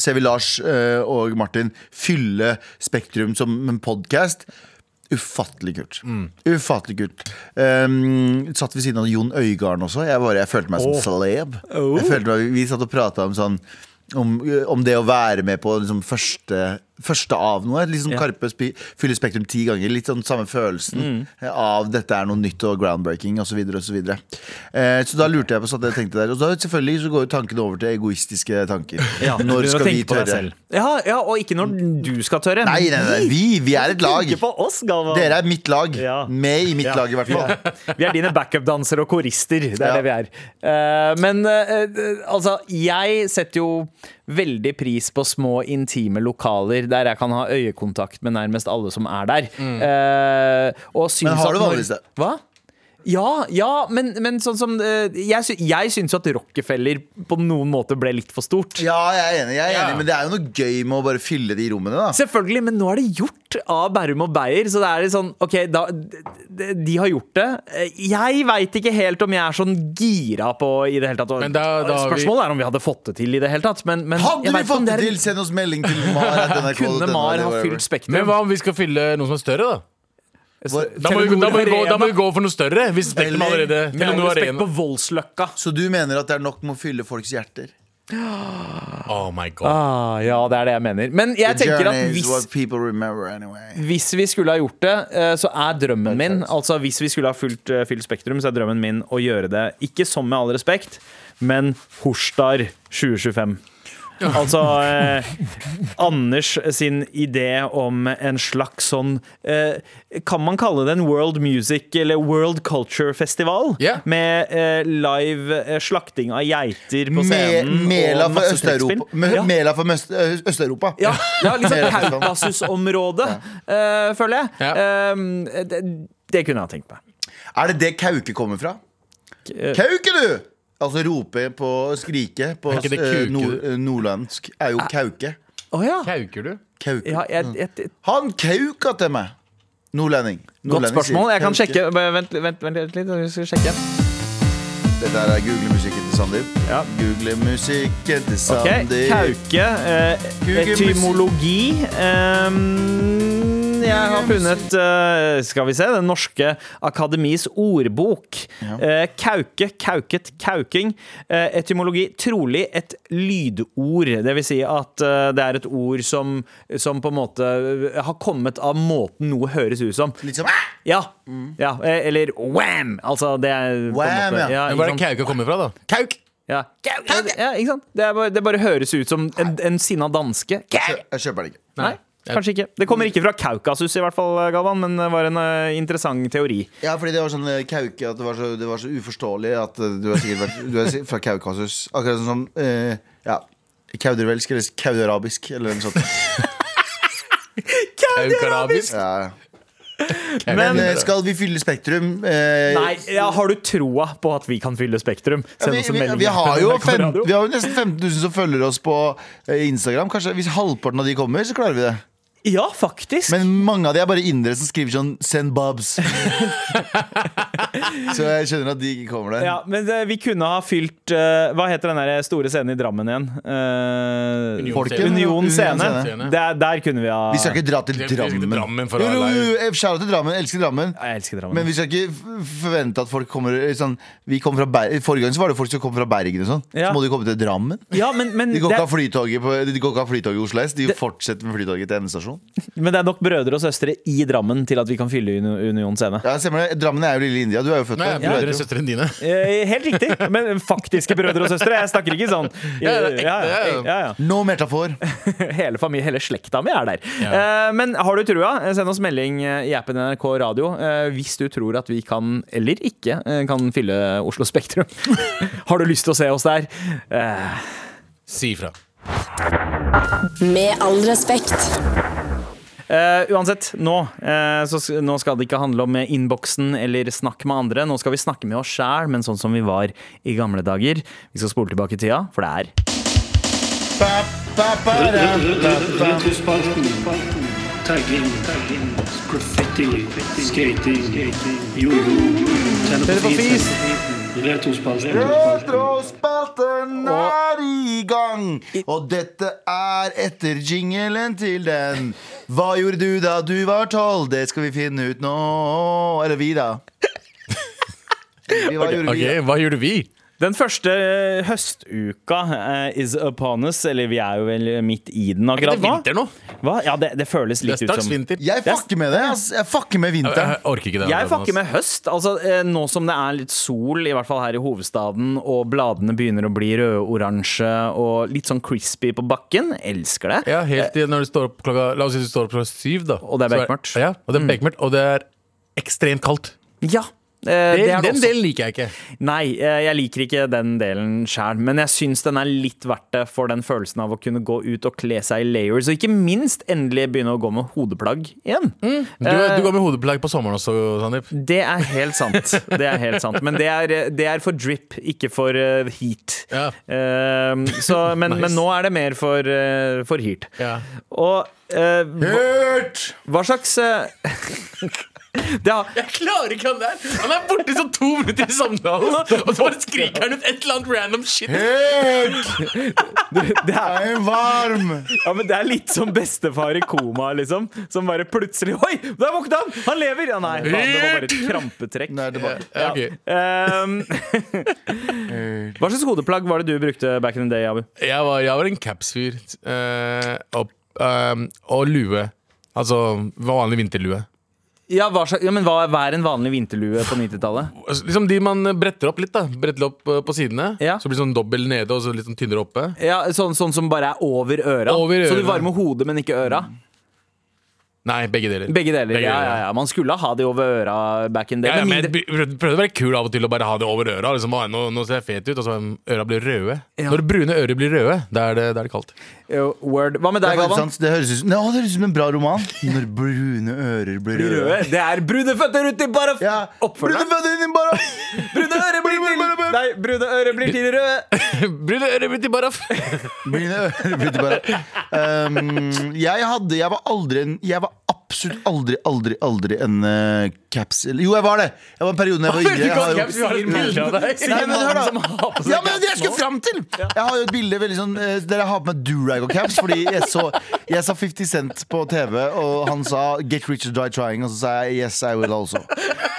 Speaker 2: ser vi Lars eh, og Martin fylle Spektrum som en podkast. Ufattelig kult. Ufattelig kult. Ehm, satt ved siden av Jon Øigarden også. Jeg, bare, jeg følte meg som celeb. Jeg følte meg, vi satt og prata om sånn om, om det å være med på liksom første, første av noe. Liksom Karpe spi- fyller Spektrum ti ganger. Litt sånn samme følelsen av dette er noe nytt og groundbreaking osv. Så, videre, og så, videre. eh, så da lurte jeg på sånn at jeg tenkte der. Og da selvfølgelig så går jo tankene over til egoistiske tanker.
Speaker 1: Ja, du
Speaker 2: Når
Speaker 1: begynner å
Speaker 2: skal vi
Speaker 1: tenke på deg
Speaker 2: tørre?
Speaker 1: selv. Ja, ja, og ikke når du skal tørre.
Speaker 2: Nei, nei, nei, vi, vi er et lag.
Speaker 1: Ikke på oss, Galvan.
Speaker 2: Dere er mitt lag.
Speaker 1: Ja.
Speaker 2: Med i mitt
Speaker 1: Ja.
Speaker 2: lag, i hvert fall.
Speaker 1: Vi er dine backup-dansere og korister. Det er
Speaker 2: Ja.
Speaker 1: det vi er. Eh, men eh, eh, altså, jeg setter jo veldig pris på små, intime lokaler der jeg kan ha øyekontakt med nærmest alle som er der. Eh, og syns
Speaker 2: Mm. Men har
Speaker 1: at
Speaker 2: du
Speaker 1: når-
Speaker 2: vanligvis det?
Speaker 1: Hva? Ja, ja, men, men sånn som eh, Jeg, sy jeg syns jo at Rockefeller på noen måte ble litt for stort.
Speaker 2: Ja, jeg er enig, jeg er
Speaker 3: Ja.
Speaker 2: enig men det er jo noe gøy med å bare fylle de rommene, da.
Speaker 1: Selvfølgelig, men nå er det gjort av Bærum og Beyer. Så det er litt sånn, ok, da, de, de har gjort det. Jeg veit ikke helt om jeg er sånn gira på i det hele tatt.
Speaker 3: Men da- da har vi-
Speaker 1: Spørsmålet er om vi hadde fått det til i det hele tatt. Men, men jeg
Speaker 2: Hadde
Speaker 1: vet
Speaker 2: vi
Speaker 1: ikke om
Speaker 2: fått det
Speaker 1: er-
Speaker 2: til, send oss melding til Mar. at NRK
Speaker 1: Kunne
Speaker 2: denne,
Speaker 1: Mar
Speaker 2: eller
Speaker 1: ha
Speaker 2: whatever.
Speaker 1: fylt Spektrum?
Speaker 3: Men hva om vi skal fylle noe som er større, da?
Speaker 1: Så-
Speaker 3: Da må, vi, da, må vi gå, da må
Speaker 1: Telenor
Speaker 3: vi
Speaker 1: Arena.
Speaker 3: gå for noe større. Hvis Spektrum
Speaker 2: Eller-
Speaker 3: allerede
Speaker 1: Med all
Speaker 3: Telenor
Speaker 1: respekt
Speaker 3: Arena.
Speaker 1: på Voldsløkka.
Speaker 2: Så du mener at det er nok med å fylle folks hjerter?
Speaker 3: Oh my god.
Speaker 1: Ah, ja, det er det jeg mener. Men jeg
Speaker 2: The
Speaker 1: tenker
Speaker 2: journey
Speaker 1: at
Speaker 2: is
Speaker 1: hvis
Speaker 2: what people remember anyway.
Speaker 1: hvis vi skulle ha gjort det, eh, så er drømmen min Altså hvis vi skulle ha fulgt eh, Fylt Spektrum, så er drømmen min å gjøre det ikke som med all respekt, men Horstar 2025. Altså eh, Anders sin idé om en slags sånn eh, Kan man kalle det en World Music eller World Culture Festival?
Speaker 3: Ja.
Speaker 1: Med eh, live eh, slakting av geiter på
Speaker 2: Me-
Speaker 1: scenen. og
Speaker 2: Mela fra
Speaker 1: masse
Speaker 2: Øst-Europa.
Speaker 1: trekkspill.
Speaker 2: Me-
Speaker 1: Ja.
Speaker 2: Mela fra Møst- Ø- Øst-Europa.
Speaker 1: Ja, ja liksom
Speaker 2: Mer eller mindre.
Speaker 1: Kaukasus-området, eh, føler jeg.
Speaker 3: Ja.
Speaker 1: Ehm, det, det kunne jeg ha tenkt meg.
Speaker 2: Er det det Kauke kommer fra? Kauke, du! Altså rope på skrike på
Speaker 3: Er ikke det
Speaker 2: eh,
Speaker 3: kuke,
Speaker 2: nord,
Speaker 3: du?
Speaker 2: eh, nordlandsk er jo Kauke.
Speaker 1: Å ja.
Speaker 3: Kauker du?
Speaker 2: Kauke.
Speaker 1: ja jeg, jeg, jeg,
Speaker 2: Han kauka til meg! Nordlending.
Speaker 1: godt
Speaker 2: Nordlending sier
Speaker 1: spørsmål. Jeg kan
Speaker 2: kauke.
Speaker 1: sjekke. Vent, vent, vent, vent litt. Jeg skal sjekke.
Speaker 2: Dette her er Google-musikken til Sandeep.
Speaker 1: Ja.
Speaker 2: Google-musikken til
Speaker 1: Ok,
Speaker 2: Sandeep.
Speaker 1: Kauke. Eh,
Speaker 2: Google
Speaker 1: etymologi. Ehm, jeg har funnet eh, Skal vi se. Den norske akademis ordbok. Eh, kauke, kauket, kauking. Eh, etymologi trolig et lydord. Det vil si at eh, det er et ord som, som på en måte eh, har kommet av måten noe høres ut som.
Speaker 2: Litt som "Ah!"
Speaker 1: Ja. ja eh, eller wham! Altså, det er på en
Speaker 2: Wham,
Speaker 1: måte
Speaker 2: ja.
Speaker 1: ikke
Speaker 3: Men Hvor er
Speaker 1: sant?
Speaker 3: det Kauka kommer fra, da?
Speaker 2: Kauk!
Speaker 1: Ja. ja, ikke sant? Det, er bare, det bare høres ut som en, en sinna danske.
Speaker 2: Kjø- Jeg kjøper det ikke.
Speaker 1: Nei, kanskje ikke. Det kommer ikke fra Kaukasus, i hvert fall, Galvan, men det var en eh, interessant teori.
Speaker 2: Ja, fordi det var sånn eh, kauke at det var så, det var så uforståelig at eh, du er sikkert vært, du er si- fra Kaukasus. Akkurat sånn som eh, ja, kaudervelsk eller kaudarabisk eller noe sånt.
Speaker 3: Kaukarabisk?
Speaker 2: Ja. ja. Men
Speaker 1: Men
Speaker 2: eh, skal vi fylle Spektrum? Eh,
Speaker 1: Nei, ja, har du troa på at vi kan fylle Spektrum?
Speaker 2: ja,
Speaker 1: Send
Speaker 2: vi,
Speaker 1: oss en
Speaker 2: vi,
Speaker 1: melding.
Speaker 2: vi, har jo fem,
Speaker 1: Radio.
Speaker 2: vi har jo nesten 15 000 som følger oss på eh, Instagram. Kanskje Hvis halvparten av de kommer, så klarer vi det.
Speaker 1: Ja, faktisk.
Speaker 2: Men mange av de er bare indere som skriver sånn 'send bobs'. så jeg skjønner at de ikke kommer der.
Speaker 1: ja, men eh, vi kunne ha fylt eh, Hva heter den der store scenen i Drammen igjen? Eh,
Speaker 3: Union
Speaker 1: Folket?
Speaker 3: Scene.
Speaker 1: Union
Speaker 2: Union
Speaker 1: scene.
Speaker 3: Scene.
Speaker 1: Der, der kunne vi ha
Speaker 2: Vi skal ikke dra til
Speaker 3: Vi skal
Speaker 2: Drammen.
Speaker 3: ikke til Drammen for å
Speaker 2: jo, jo,
Speaker 3: være live.
Speaker 2: jo, eh, shout out til Drammen, elsker Drammen.
Speaker 1: Jeg elsker Drammen.
Speaker 2: Men vi skal ikke f- forvente at folk kommer eh, sånn, vi kom fra Ber Forrige gang så var det folk som kom fra Bergen og sånn.
Speaker 1: Ja.
Speaker 2: Så må de komme til Drammen.
Speaker 1: ja, men, men,
Speaker 2: De går
Speaker 1: det,
Speaker 2: ikke av flytoget, på, de går ikke av flytoget i Oslo S. De fortsetter med flytoget til endestasjon.
Speaker 1: men det er nok brødre og søstre i Drammen til at vi kan fylle Uni- Union scene.
Speaker 2: Ja, stemmer det. Drammen er jo lille India. Du er jo født
Speaker 3: Nei,
Speaker 2: der.
Speaker 3: jeg
Speaker 2: Du
Speaker 3: bryr
Speaker 2: vet
Speaker 3: dere
Speaker 2: jo.
Speaker 3: søstrene dine.
Speaker 1: Eh, Helt riktig, men faktiske brødre og søstre. Jeg snakker ikke sånn.
Speaker 3: Ja, det er ekte, ja,
Speaker 1: ja, ja.
Speaker 2: No metafor.
Speaker 1: Hele, familie, hele slekta mi er der.
Speaker 3: Ja.
Speaker 1: Eh, men har du trua, send oss melding eh, i appen NRK Radio eh, hvis du tror at vi kan, eller ikke, eh, kan fylle Oslo Spektrum. har du lyst til å se oss der? Eh,
Speaker 3: Si ifra.
Speaker 5: Med all respekt.
Speaker 1: eh, uansett, nå, eh, så, s- nå skal det ikke handle om eh, innboksen eller snakk med andre. Nå skal vi snakke med oss sjæl, men sånn som vi var i gamle dager. Vi skal spole tilbake i tida, for det er
Speaker 2: Ba, ba, ba, da, da, da.
Speaker 7: Spalten. Tagging. Graffiti. Skating. Jojo. Tenne på fisen. Retrospalten.
Speaker 2: Retrospalten er i gang, og dette er etter jingelen til den. Hva gjorde du da du var tolv? Det skal vi finne ut nå. Eller vi, da. Vi, hva gjorde
Speaker 3: Ok,
Speaker 2: vi?
Speaker 3: Hva gjorde vi?
Speaker 1: Den første eh, høstuka eh, is upon us, eller vi er jo vel midt i den
Speaker 3: Er ikke
Speaker 1: akkurat
Speaker 3: det
Speaker 1: nå.
Speaker 3: vinter nå?
Speaker 1: Hva? Ja, det, det føles
Speaker 3: Det
Speaker 1: litt
Speaker 3: er
Speaker 1: ut
Speaker 3: straks
Speaker 1: som
Speaker 3: vinter.
Speaker 2: Jeg fucker med det. ass. Jeg fucker med
Speaker 3: Jeg
Speaker 2: vinteren.
Speaker 3: jeg orker ikke det.
Speaker 1: jeg fucker med
Speaker 3: Andreas.
Speaker 1: høst. Altså, eh, nå som det er litt sol, i hvert fall her i hovedstaden, og bladene begynner å bli røde-oransje og litt sånn crispy på bakken, elsker det.
Speaker 3: Ja, helt til når du står opp klokka La oss si du står opp klokka syv, da.
Speaker 1: Og det er
Speaker 3: Så
Speaker 1: bekmørkt. Mm.
Speaker 3: Ja, og det er bekmørkt, og det er ekstremt kaldt.
Speaker 1: Ja, eh, det er det
Speaker 3: den
Speaker 1: også.
Speaker 3: delen liker jeg ikke.
Speaker 1: Nei, eh, jeg liker ikke den delen sjæl, men jeg syns den er litt verdt det for den følelsen av å kunne gå ut og kle seg i layers, og ikke minst endelig begynne å gå med hodeplagg igjen.
Speaker 3: Du,
Speaker 1: Eh.
Speaker 3: du går med hodeplagg på sommeren også, Sandeep.
Speaker 1: Det er helt sant. Det er helt sant. Men det er, det er for drip, ikke for eh, heat.
Speaker 3: Ja.
Speaker 1: Eh, så, men,
Speaker 3: Nice.
Speaker 1: men nå er det mer for, eh, for heat.
Speaker 3: Ja.
Speaker 1: Og eh, hva, hva slags eh, det har,
Speaker 3: Klarer ikke han der? Han er borte sånn to minutter i samtalen, og så bare skriker han ut et eller annet random shit.
Speaker 2: Helt!
Speaker 1: det er
Speaker 2: Jeg er varm!
Speaker 1: Ja, men Det er litt som bestefar i koma, liksom. Som bare plutselig Oi, der våkna han! Han lever! Ja, nei, faen, det var bare et krampetrekk.
Speaker 2: Nå er jeg tilbake.
Speaker 3: Ja, ok.
Speaker 1: Ehm, hva slags hodeplagg var det du brukte back in the day, Abu?
Speaker 3: Jeg var, jeg var en capsfyr eh, og, eh, og lue. Altså vanlig vinterlue.
Speaker 1: Ja, hva slags, ja, men hva er en vanlig vinterlue på 90-tallet?
Speaker 3: Altså, Liksom De man bretter opp litt. da Bretter opp eh, på sidene.
Speaker 1: Ja.
Speaker 3: Så blir det sånn dobbel nede og så litt sånn tynnere oppe.
Speaker 1: Ja, sånn, sånn som bare er over øra?
Speaker 3: Over
Speaker 1: Så du
Speaker 3: øra.
Speaker 1: varmer hodet, men ikke øra?
Speaker 3: Nei, begge deler.
Speaker 1: Begge deler.
Speaker 3: Begge
Speaker 1: Ja,
Speaker 3: deler.
Speaker 1: ja, ja. Man skulle ha de over øra back in the
Speaker 3: Ja,
Speaker 1: day.
Speaker 3: ja,
Speaker 1: men
Speaker 3: men
Speaker 1: mindre,
Speaker 3: jeg by- prøvde prøvde å være kul av og til og bare ha det over øra. Liksom, «Å, nå, nå ser jeg fet ut, og så um, øra blir røde.
Speaker 1: Ja.
Speaker 3: Når brune ører blir røde, da er det, da er det kaldt.
Speaker 1: Jo, word. Hva med
Speaker 2: Det, er
Speaker 1: deg,
Speaker 2: faktisk
Speaker 1: Galvan?
Speaker 2: sant. det, høres ut, som- Nå, det høres ut som en bra roman. Når brune ører blir røde.
Speaker 1: Røde. Det er brune føtter uti bare
Speaker 2: Ja.
Speaker 1: oppfølgeren.
Speaker 2: Brune føtter inni bare
Speaker 1: Brune ører blir til Nei, brune ører blir til røde.
Speaker 3: brune ører blir til baraf.
Speaker 2: Mine ører blir til bare um, jeg, hadde, jeg var aldri en Jeg var absolutt aldri, aldri, aldri en eh, caps eller- Jo, jeg var det! Jeg var en periode da jeg var yngre. Jeg har jo- Nei, men hør da. Ja, men det jeg skulle fram til! Jeg har jo et bilde veldig sånn, eh, der jeg har på meg durag og caps. Fordi jeg så, jeg sa 50 Cent på TV, og han sa 'Get rich or die trying', og så sa jeg 'Yes, I will also'.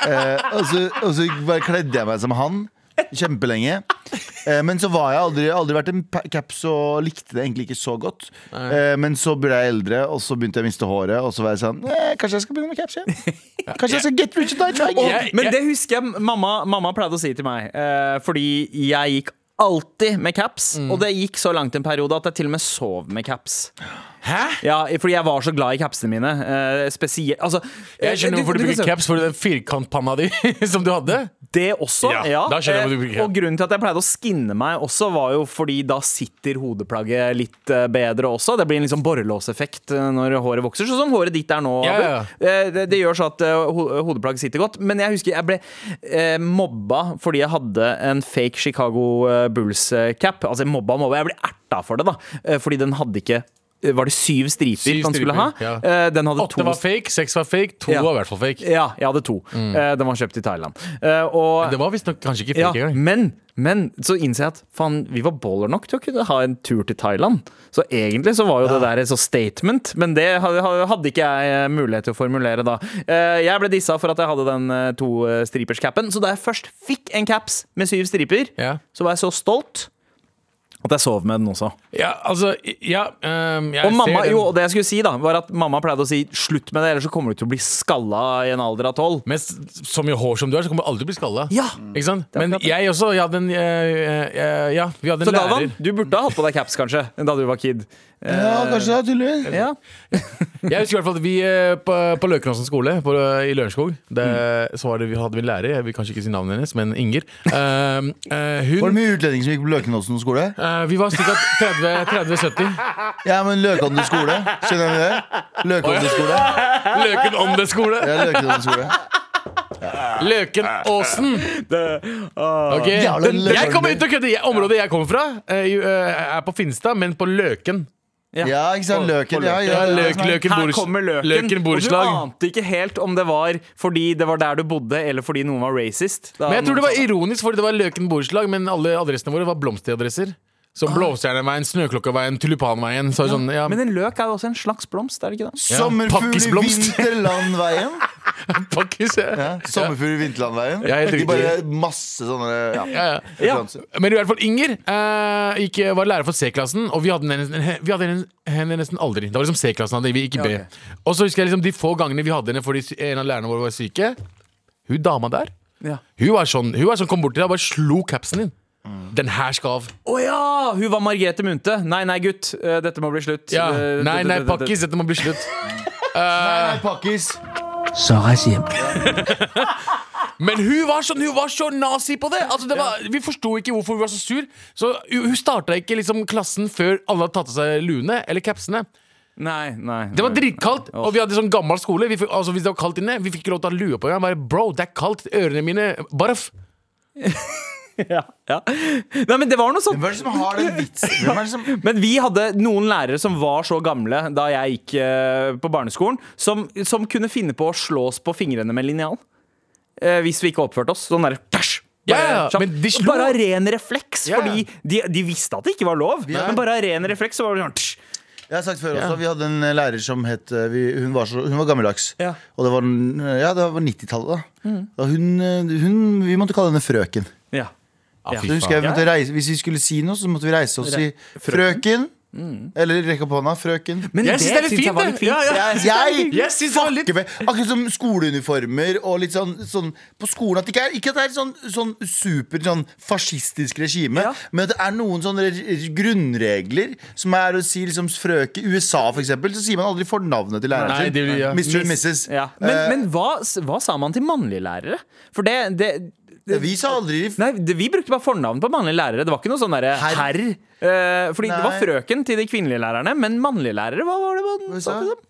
Speaker 2: Eh, og, så, og så bare kledde jeg meg som han kjempelenge. Eh, men så var jeg aldri, aldri vært en pa- caps og likte det egentlig ikke så godt. Eh, men så ble jeg eldre, og så begynte jeg å miste håret, og så var jeg sånn eh, Kanskje jeg skal begynne med caps igjen? Kanskje jeg skal get rich or die trying?
Speaker 3: Jeg-
Speaker 1: Men det husker jeg mamma, mamma pleide å si til meg, eh, fordi jeg gikk alltid med caps.
Speaker 3: Mm.
Speaker 1: Og det gikk så langt en periode at jeg til og med sov med caps.
Speaker 3: Hæ?
Speaker 1: Ja, fordi jeg var så glad i capsene mine. Eh, spesielt altså,
Speaker 3: Jeg skjønner hvorfor du
Speaker 1: kan
Speaker 3: bruker
Speaker 1: se-
Speaker 3: caps for den firkantpanna di som du hadde.
Speaker 1: Det også, ja.
Speaker 3: Ja, da skjønner jeg hva du
Speaker 1: Eh,
Speaker 3: bruker.
Speaker 1: Og grunnen til at jeg pleide å skinne meg også, var jo fordi da sitter hodeplagget litt eh, bedre også. Det blir en liksom borrelåseffekt eh, når håret vokser, sånn som håret ditt er nå.
Speaker 3: Ja,
Speaker 1: Abu.
Speaker 3: ja,
Speaker 1: Eh, Det, det gjør så at eh, ho hodeplagg sitter godt. Men jeg husker jeg ble eh, mobba fordi jeg hadde en fake Chicago eh, Bulls-cap. Altså jeg mobba og mobba, jeg ble erta for det, da. eh, Fordi Eh, den hadde ikke Var det syv striper
Speaker 3: Syv
Speaker 1: den skulle ha?
Speaker 3: striper, ja.
Speaker 1: Eh, Den hadde
Speaker 3: Åtte
Speaker 1: to
Speaker 3: var Mm. fake, seks var fake, to
Speaker 1: Ja.
Speaker 3: var i hvert fall fake.
Speaker 1: Ja, jeg hadde to. Eh, Den var kjøpt i Thailand. Eh, Og
Speaker 3: Det var visstnok kanskje ikke
Speaker 1: ja,
Speaker 3: fake engang.
Speaker 1: men, men så innser jeg at faen, vi var baller nok til å kunne ha en tur til Thailand. Så egentlig så var jo det der et sånt statement, men det ha- ha- hadde ikke jeg eh, mulighet til å formulere da. Eh, Jeg ble dissa for at jeg hadde den eh, to eh, stripers-capen, så da jeg først fikk en caps med syv striper,
Speaker 3: Ja.
Speaker 1: så var jeg så stolt at jeg sov med den også.
Speaker 3: Ja, altså Ja, ehm, jeg
Speaker 1: Og
Speaker 3: ser
Speaker 1: mamma,
Speaker 3: den.
Speaker 1: jo, og det jeg skulle si da, var at mamma pleide å si 'slutt med det, ellers så kommer du til å bli skalla i en alder av tolv'.
Speaker 3: Men s- så mye hår som du har, så kommer du aldri bli skalla.
Speaker 1: Ja.
Speaker 3: Ikke sant?
Speaker 1: er
Speaker 3: Men
Speaker 1: akkurat det.
Speaker 3: jeg også, jeg hadde en eh, eh, Ja, vi hadde en
Speaker 1: Så
Speaker 3: lærer.
Speaker 1: Galvan, du burde ha hatt på deg caps kanskje, da du var kid.
Speaker 2: Ja, kanskje det, tydeligvis.
Speaker 1: Ja.
Speaker 3: Jeg husker i hvert fall at vi eh, på, på Løkenåsen skole på, i Lørenskog det,
Speaker 1: Mm.
Speaker 3: Så var det, vi hadde vi en lærer, jeg vil kanskje ikke si navnet hennes, men Inger. Ehm, eh,
Speaker 2: Var det
Speaker 3: hun
Speaker 2: mye utlendinger som gikk på Løkenåsen skole?
Speaker 3: eh, Vi var sikkert 30 30-70.
Speaker 2: Ja, men Løkånden skole. Skjønner du det? Løkånden skole.
Speaker 3: Løken om det skole!
Speaker 2: Ja, Løkånden skole.
Speaker 3: Løkenåsen! Ok,
Speaker 2: Jævla
Speaker 3: den,
Speaker 2: løken.
Speaker 3: jeg kommer ikke til å kødde. Jeg- Området jeg kommer fra, eh, i- eh, er på Finstad, men på Løken.
Speaker 2: Ja, ikke sant? Løken. Ja, ja,
Speaker 3: Ja,
Speaker 2: ja.
Speaker 3: løk, løken,
Speaker 1: sånn. Her
Speaker 3: bors-
Speaker 1: kommer løken,
Speaker 3: løken borettslag.
Speaker 1: og du ante ikke helt om det var fordi det var der du bodde, eller fordi noen var racist. Da
Speaker 3: Men jeg tror det var
Speaker 1: noen sa-
Speaker 3: ironisk, fordi det var Løken borettslag, men alle adressene våre var blomsteradresser. Som Blåstjerneveien, Snøklokkaveien, Tulipanveien. Så er det sånn, ja,
Speaker 1: Ah. Men en løk er jo også en slags blomst, er det ikke det?
Speaker 2: Sommerfugl i
Speaker 3: Pakkisblomst.
Speaker 2: Vinterlandveien.
Speaker 3: pakkis,
Speaker 2: Ja,
Speaker 3: ja.
Speaker 2: Sommerfugl i Vinterlandveien.
Speaker 3: Ja, helt
Speaker 2: De
Speaker 3: riktig.
Speaker 2: bare masse sånne ja,
Speaker 3: Ja, ja.
Speaker 2: referanser.
Speaker 3: Men i hvert fall Inger eh, gikk, var lærer for C-klassen, og vi hadde henne nesten, vi hadde henne, henne nesten aldri. Det var liksom C-klassen hadde, vi gikk i B. Og så husker jeg liksom de få gangene vi hadde henne fordi en av lærerne våre var syke. Hun dama der,
Speaker 1: Ja.
Speaker 3: hun var sånn, hun var sånn kom bort til deg og bare slo capsen din.
Speaker 1: Mm.
Speaker 3: Den her skal av.
Speaker 1: Å ja! Hun var Margrethe Munthe. Nei, nei, gutt. eh, Dette må bli slutt.
Speaker 3: Ja.
Speaker 1: Eh,
Speaker 3: Nei,
Speaker 1: det-
Speaker 3: nei,
Speaker 1: det- det- det-
Speaker 3: pakkis, dette må bli slutt.
Speaker 2: Nei, Pakkis.
Speaker 4: Så reis hjem.
Speaker 3: Men hun var, sånn, hun var så nazi på det! Altså, det var, vi forsto ikke hvorfor hun var så sur. Så hun hun starta ikke liksom klassen før alle hadde tatt av seg luene eller capsene.
Speaker 1: Nei, nei.
Speaker 3: Det var
Speaker 1: nei.
Speaker 3: dritkaldt, og vi hadde sånn gammel skole. Vi fikk, altså, hvis det var kaldt inne, vi fikk ikke lov til å ha lue på engang. Bare, Bro, det er kaldt. Ørene mine Barf.
Speaker 1: Ja, ja. Nei, men det var noe sånt.
Speaker 2: Hvem er det som har den vitsen? Hvem er det som...
Speaker 1: Men vi hadde noen lærere som var så gamle da jeg gikk eh, på barneskolen, som, som kunne finne på å slå oss på fingrene med linjal. Eh, hvis vi ikke oppførte oss. Sånn der, pæsj! Bare,
Speaker 3: Ja, ja,
Speaker 1: kjapt.
Speaker 3: men de slo.
Speaker 1: bare av ren refleks,
Speaker 3: Ja.
Speaker 1: fordi de, de visste at det ikke var lov. Men bare av ren refleks så var det sånn tsch.
Speaker 2: Jeg har sagt før også, Vi hadde en lærer som het eh, vi, Hun var, så, hun var gammeldags.
Speaker 1: Ja.
Speaker 2: Og det var, den- ja, det var 90-tallet, da.
Speaker 3: Mm.
Speaker 2: da hun, eh, hun, vi måtte kalle henne frøken.
Speaker 1: ja. Ja.
Speaker 2: Så husker jeg vi måtte reise, Hvis vi skulle si noe, så måtte vi reise og si frøken. Eller rekke opp hånda. Frøken.
Speaker 1: Mm. Men
Speaker 3: Jeg syns det er litt
Speaker 1: synes jeg
Speaker 3: fint,
Speaker 1: var
Speaker 3: det. Ja, ja.
Speaker 2: Jeg, jeg,
Speaker 3: Jeg synes det var litt
Speaker 2: Ikke vet- Akkurat som skoleuniformer og litt sånn, sånn på skolen. At det ikke er, ikke at det er sånn, sånn super sånn fascistisk regime,
Speaker 1: Ja.
Speaker 2: men at det er noen sånne re- re- grunnregler som er å si liksom frøke I USA, for eksempel, så sier man aldri fornavnet til læreren
Speaker 3: Nei,
Speaker 2: sin.
Speaker 3: det blir- ja.
Speaker 2: Mr. og Mrs.
Speaker 1: Ja. Men,
Speaker 2: Eh,
Speaker 1: men hva, hva sa man til mannlige lærere? For det, det, det
Speaker 2: vi sa aldri f-
Speaker 1: Nei, det, vi brukte bare fornavn på mannlige lærere. Det var ikke noe sånn derre
Speaker 2: Herr.
Speaker 1: herr. Eh, fordi det var
Speaker 2: Nei.
Speaker 1: frøken til de kvinnelige lærerne, men mannlige lærere, hva var det man
Speaker 2: Hva
Speaker 1: sa
Speaker 2: sa?
Speaker 1: til dem?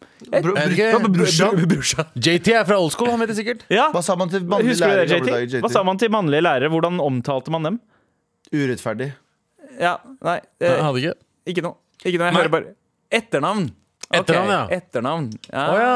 Speaker 2: Bro-
Speaker 3: Jeg-
Speaker 2: bro-
Speaker 3: Jeg-
Speaker 2: brorsan?
Speaker 1: Brorsan.
Speaker 3: JT er fra old school, han vet det sikkert.
Speaker 1: Ja.
Speaker 2: Hva sa man til mannlige
Speaker 1: Husker du
Speaker 2: lærere
Speaker 1: det,
Speaker 2: i gamle dager?
Speaker 1: JT? Hva sa man til mannlige lærere? Hvordan omtalte man dem?
Speaker 2: Urettferdig.
Speaker 1: Ja, nei,
Speaker 3: Han
Speaker 1: eh,
Speaker 3: hadde ikke.
Speaker 1: ikke noe. Ikke noe, jeg
Speaker 3: Nei.
Speaker 1: hører bare Etternavn. Ok,
Speaker 3: Etternavn, ja.
Speaker 1: Etternavn. Ja.
Speaker 3: Å ja.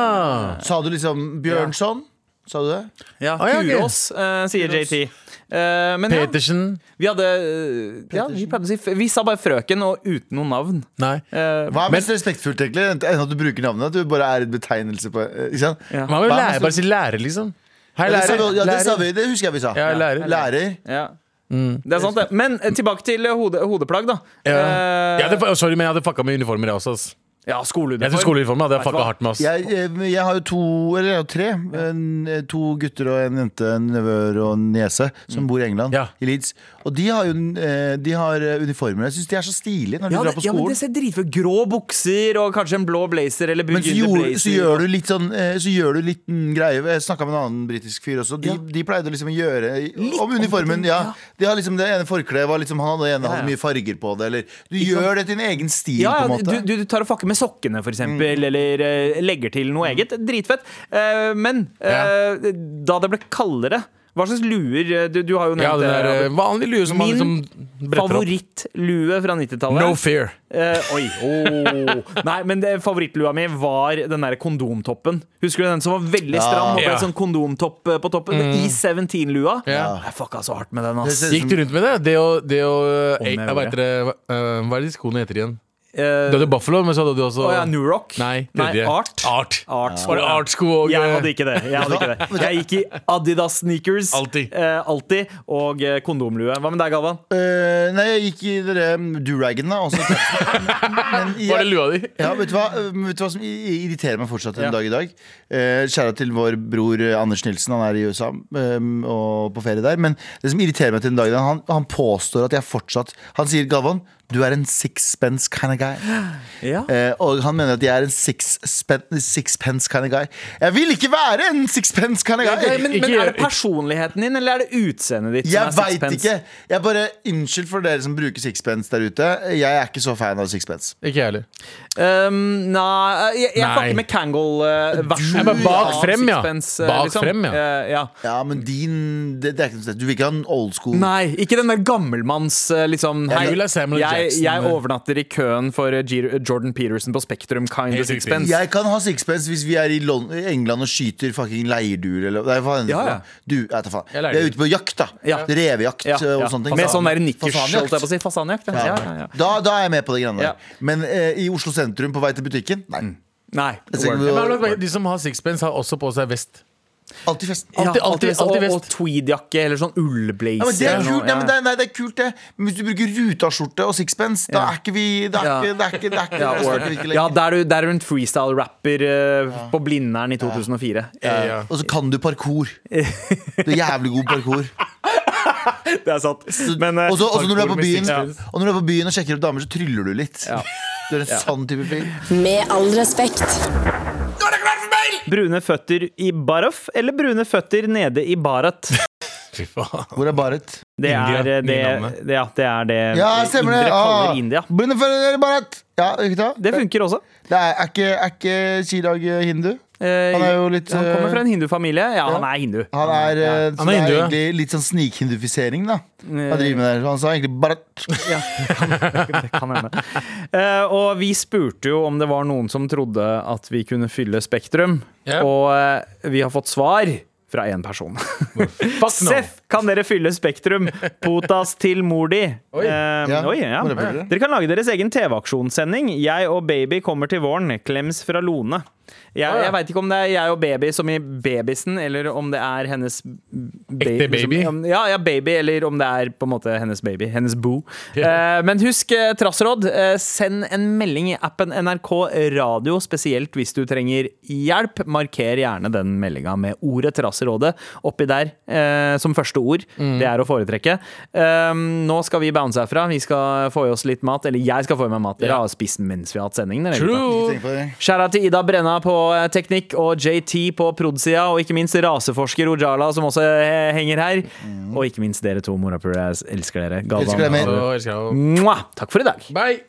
Speaker 2: Sa du liksom Bjørnson? Sa du det?
Speaker 1: ja.
Speaker 3: Å, ja, ok.
Speaker 1: Kurås, eh, sier JT. Eh, men ja,
Speaker 3: Petersen.
Speaker 1: vi hadde eh, ja, vi, pleide å si, f- vi sa bare frøken og uten noe navn.
Speaker 3: Nei.
Speaker 1: Eh,
Speaker 2: Hva er mest respektfullt, egentlig? Enn at du bruker navnet? At du bare er en betegnelse på eh, Ikke sant?
Speaker 1: Ja.
Speaker 3: Man vil
Speaker 2: Hva er
Speaker 3: lære,
Speaker 2: mest-
Speaker 3: bare si lærer, liksom. Hei,
Speaker 2: Ja, det, sa
Speaker 3: lærer.
Speaker 2: vi, ja, det, sa
Speaker 3: lærer.
Speaker 2: vi, det husker jeg vi sa.
Speaker 3: Ja, lærer.
Speaker 2: Lærer.
Speaker 1: ja. Det er sant, det. Men eh, tilbake til eh, hode, hodeplagg, da.
Speaker 3: Ja.
Speaker 1: Eh,
Speaker 3: Jeg hadde, sorry, men jeg hadde fucka med uniformer, jeg også. Ass.
Speaker 1: ja,
Speaker 3: Jeg tror
Speaker 1: skoleuniform.
Speaker 3: skoleuniformen hadde jeg
Speaker 1: Vet du
Speaker 3: fucka
Speaker 1: hva?
Speaker 3: hardt med. Ass.
Speaker 2: Jeg, jeg, jeg har jo to, eller jeg har jo tre. En, to gutter og en jente, en nevøer og en niese, som
Speaker 1: Mm.
Speaker 2: bor i England,
Speaker 3: Ja.
Speaker 2: i Leeds. Og de har jo eh, de har uniformer. Jeg syns de er så stilige når de
Speaker 1: Ja,
Speaker 2: drar
Speaker 1: det,
Speaker 2: på
Speaker 1: ja, men
Speaker 2: skolen.
Speaker 1: det ser dritfett Grå bukser og kanskje en blå blazer eller
Speaker 2: men så,
Speaker 1: burgunder
Speaker 2: gjorde,
Speaker 1: blazer.
Speaker 2: så gjør du litt sånn eh, Så gjør du litt mm, greie. Jeg snakka med en annen britisk fyr også. De,
Speaker 1: Ja.
Speaker 2: de pleide liksom å gjøre Om
Speaker 1: omkring,
Speaker 2: uniformen, ja.
Speaker 1: ja.
Speaker 2: De har liksom Det ene forkleet var liksom Han hadde, ene
Speaker 1: Ja,
Speaker 2: hadde
Speaker 1: ja.
Speaker 2: mye farger på det, eller Du gjør det til en egen stil,
Speaker 1: ja,
Speaker 2: på en
Speaker 1: ja,
Speaker 2: måte.
Speaker 1: du, du, du tar og fucker med sokkene, for eksempel, eller eh, legger til noe eget. Dritfett. Eh, men eh, da det ble kaldere Hva slags luer eh, Du, du har jo
Speaker 3: Ja,
Speaker 1: nevnt det.
Speaker 3: den der eh,
Speaker 1: Robert.
Speaker 3: vanlige lue som man
Speaker 1: Min
Speaker 3: liksom bretter opp.
Speaker 1: Favorittlue fra 90-tallet.
Speaker 3: No fear.
Speaker 1: Eh, oi. åh. Nei, men det, favorittlua mi var den der kondomtoppen. Husker du den som var veldig stram? Og ble
Speaker 3: Ja. Mm.
Speaker 1: sånn kondomtopp eh, på toppen I 17-lua.
Speaker 3: Ja.
Speaker 1: Jeg fucka så hardt med den. ass
Speaker 2: Det ser-
Speaker 3: Gikk du rundt med det? Det å, det å eh,
Speaker 1: jeg
Speaker 3: jeg
Speaker 1: gjorde.
Speaker 3: vet dere, hva, eh, hva er det disse skoene heter igjen?
Speaker 1: Eh,
Speaker 3: Du hadde Buffalo, men så hadde du også
Speaker 1: Å ja, New Rock?
Speaker 3: Nei,
Speaker 1: Nei
Speaker 3: tredje.
Speaker 1: Art.
Speaker 3: Art.
Speaker 1: Art
Speaker 3: Var det Art-sko og eh,
Speaker 1: Jeg hadde ikke det. Jeg, hadde ikke det. jeg gikk i Adidas sneakers.
Speaker 3: Alltid.
Speaker 1: Eh, alltid. Og eh, kondomlue. Hva med deg, Galvan?
Speaker 2: Eh, nei, jeg gikk i dere do-ragen, da. og så- Men jeg-
Speaker 3: Var det lua di?
Speaker 2: Ja, vet du, hva, Eh, vet du hva som i- irriterer meg fortsatt en dag i dag? Eh, Kjære til vår bror eh, Anders Nilsen, han er i USA eh, og på ferie der. Men det som irriterer meg til en dag i dag, han, han påstår at jeg fortsatt Han sier, Galvan, du er en sixpence kind of guy.
Speaker 1: Ja.
Speaker 2: Eh, og han mener at jeg er en sixpen- sixpence kind of guy. Jeg vil ikke være en sixpence kind of guy!
Speaker 1: men, men
Speaker 3: ikke-
Speaker 1: er det personligheten din, eller er det utseendet ditt?
Speaker 2: Jeg
Speaker 1: som er
Speaker 2: veit
Speaker 1: sixpence?
Speaker 2: ikke! Jeg bare, Unnskyld for dere som bruker sixpence der ute. Jeg er ikke så fan av sixpence.
Speaker 3: Ikke jeg heller.
Speaker 1: Um, nei, jeg, jeg
Speaker 3: Nei.
Speaker 1: fucker med Kangol-versjonen.
Speaker 2: Ja, men bak
Speaker 3: frem, ja. Bak frem, ja.
Speaker 1: eh, liksom. ja.
Speaker 2: Ja, men din det, det er ikke noe sted. Du vil ikke ha en old school
Speaker 1: Nei, ikke den der gammelmanns eh, liksom, hei,
Speaker 3: du vil ha Samuel
Speaker 1: jeg,
Speaker 3: Jackson, eh.
Speaker 1: jeg
Speaker 3: men-
Speaker 1: overnatter i køen for eh, Gir- Jordan Peterson på Spektrum, kind
Speaker 3: Helt
Speaker 1: of
Speaker 3: riktig.
Speaker 1: sixpence.
Speaker 2: Jeg kan ha sixpence hvis vi er i Lon England og skyter fucking leirduer eller Nei, faen.
Speaker 1: Ja, ja.
Speaker 2: Du, jeg vet da faen.
Speaker 3: Jeg
Speaker 2: Vi
Speaker 3: er
Speaker 2: er ute på jakt, da.
Speaker 1: Ja.
Speaker 2: Revejakt
Speaker 1: Ja,
Speaker 2: eh, og
Speaker 1: ja.
Speaker 2: sånne ting.
Speaker 1: Med sånn der nikkers,
Speaker 2: Fasanjakt.
Speaker 1: holdt jeg på å si. Fasanjakt. Ja. Ja, ja, ja.
Speaker 2: Da, da er jeg med på det greiene
Speaker 1: Ja. Mm.
Speaker 2: der. Men eh, i Oslo sentrum på vei til butikken, nei.
Speaker 1: Nei.
Speaker 2: Jeg tenker
Speaker 3: Men jeg har
Speaker 2: vi-
Speaker 3: lagt merke til at De som har sixpence, har også på seg vest.
Speaker 2: Alltid fest.
Speaker 1: Ja,
Speaker 3: Alltid- alltid-
Speaker 1: vest, og-
Speaker 3: alltid vest.
Speaker 1: Og tweedjakke eller sånn ullblazer.
Speaker 2: Ja, men det er
Speaker 1: eller noe,
Speaker 2: kult, nei,
Speaker 1: ja.
Speaker 2: men det, er- nei, det er kult det. Men hvis du bruker Ruta-skjorte og sixpence, da er ikke vi Det er
Speaker 1: Ja.
Speaker 2: ikke, det er ikke, det er ikke,
Speaker 1: Ja,
Speaker 2: det
Speaker 1: or-
Speaker 2: snakker vi ikke
Speaker 1: ja,
Speaker 2: lenger.
Speaker 1: der du, der er du en freestyle-rapper eh, på Blindern i 2004.
Speaker 3: Ja.
Speaker 2: Og så kan du parkour. Du er jævlig god parkour.
Speaker 1: Det er sant. Men, eh,
Speaker 2: Og så når du er på
Speaker 3: parkour med
Speaker 2: byen
Speaker 3: sixpence.
Speaker 2: Og når du er på byen og sjekker opp damer, så tryller du litt. Du er en sånn type fyr.
Speaker 5: Med all respekt.
Speaker 1: Brune føtter i Baraf eller brune føtter nede i Barat?
Speaker 3: Fy faen.
Speaker 2: Hvor er Baret?
Speaker 1: Det er
Speaker 3: India,
Speaker 1: eh, det,
Speaker 3: nynavnet.
Speaker 1: det, ja, det, er det
Speaker 2: Ja, stemmer det!
Speaker 1: indre
Speaker 2: Ah,
Speaker 1: kaller India.
Speaker 2: Bundefører Baret! Ja, ikke sant?
Speaker 1: Det funker også.
Speaker 2: Det er, er, ikke, er ikke Chirag hindu?
Speaker 1: Eh,
Speaker 2: Han er jo litt,
Speaker 1: Han kommer fra en hindufamilie. Ja, han
Speaker 2: ja.
Speaker 1: er Eh. hindu.
Speaker 2: Han er, eh, så
Speaker 3: Han er
Speaker 2: det er
Speaker 3: hindu, ja.
Speaker 2: egentlig litt sånn snikhindufisering, da. Han driver med det. Han sa egentlig Baret.
Speaker 1: Ja, det kan hende. Eh, og vi spurte jo om det var noen som trodde at vi kunne fylle Spektrum,
Speaker 3: Ja.
Speaker 1: og eh, vi har fått svar fra én person.
Speaker 3: Fuck no.
Speaker 1: Seff, kan dere fylle Spektrum? Potas til mor di. Oi.
Speaker 2: Ja,
Speaker 1: oi, ja.
Speaker 2: må det bli det.
Speaker 1: Dere kan lage deres egen TV-aksjonssending. Jeg og baby kommer til våren. Klems fra Lone. Jeg, jeg veit ikke om det er jeg og baby som i babysen, eller om det er hennes
Speaker 3: Ekte baby?
Speaker 1: Som, ja, ja, baby, eller om det er på en måte hennes baby. Hennes boo. Eh, men husk, eh, trassråd, eh, send en melding i appen NRK Radio, spesielt hvis du trenger hjelp. Marker gjerne den meldinga med ordet 'Trasserådet' oppi der eh, som første ord. Det er å foretrekke. Um, nå skal vi bounce herfra. Vi skal få i oss litt mat. Eller jeg skal få i meg mat. Dere
Speaker 3: Ja.
Speaker 1: har spist mens vi har hatt sending. dere, gutta.
Speaker 3: True.
Speaker 2: Tenk på det.
Speaker 1: Skjæra til Ida Brenna på eh, teknikk og JT på prod-sida, og ikke minst raseforsker Ojala, som også eh, henger her. Og ikke minst dere to, morapulere. Jeg elsker dere.
Speaker 2: Elsker deg mer.
Speaker 3: Så elsker jeg å
Speaker 1: Mwah! Takk for i dag.
Speaker 3: Bye.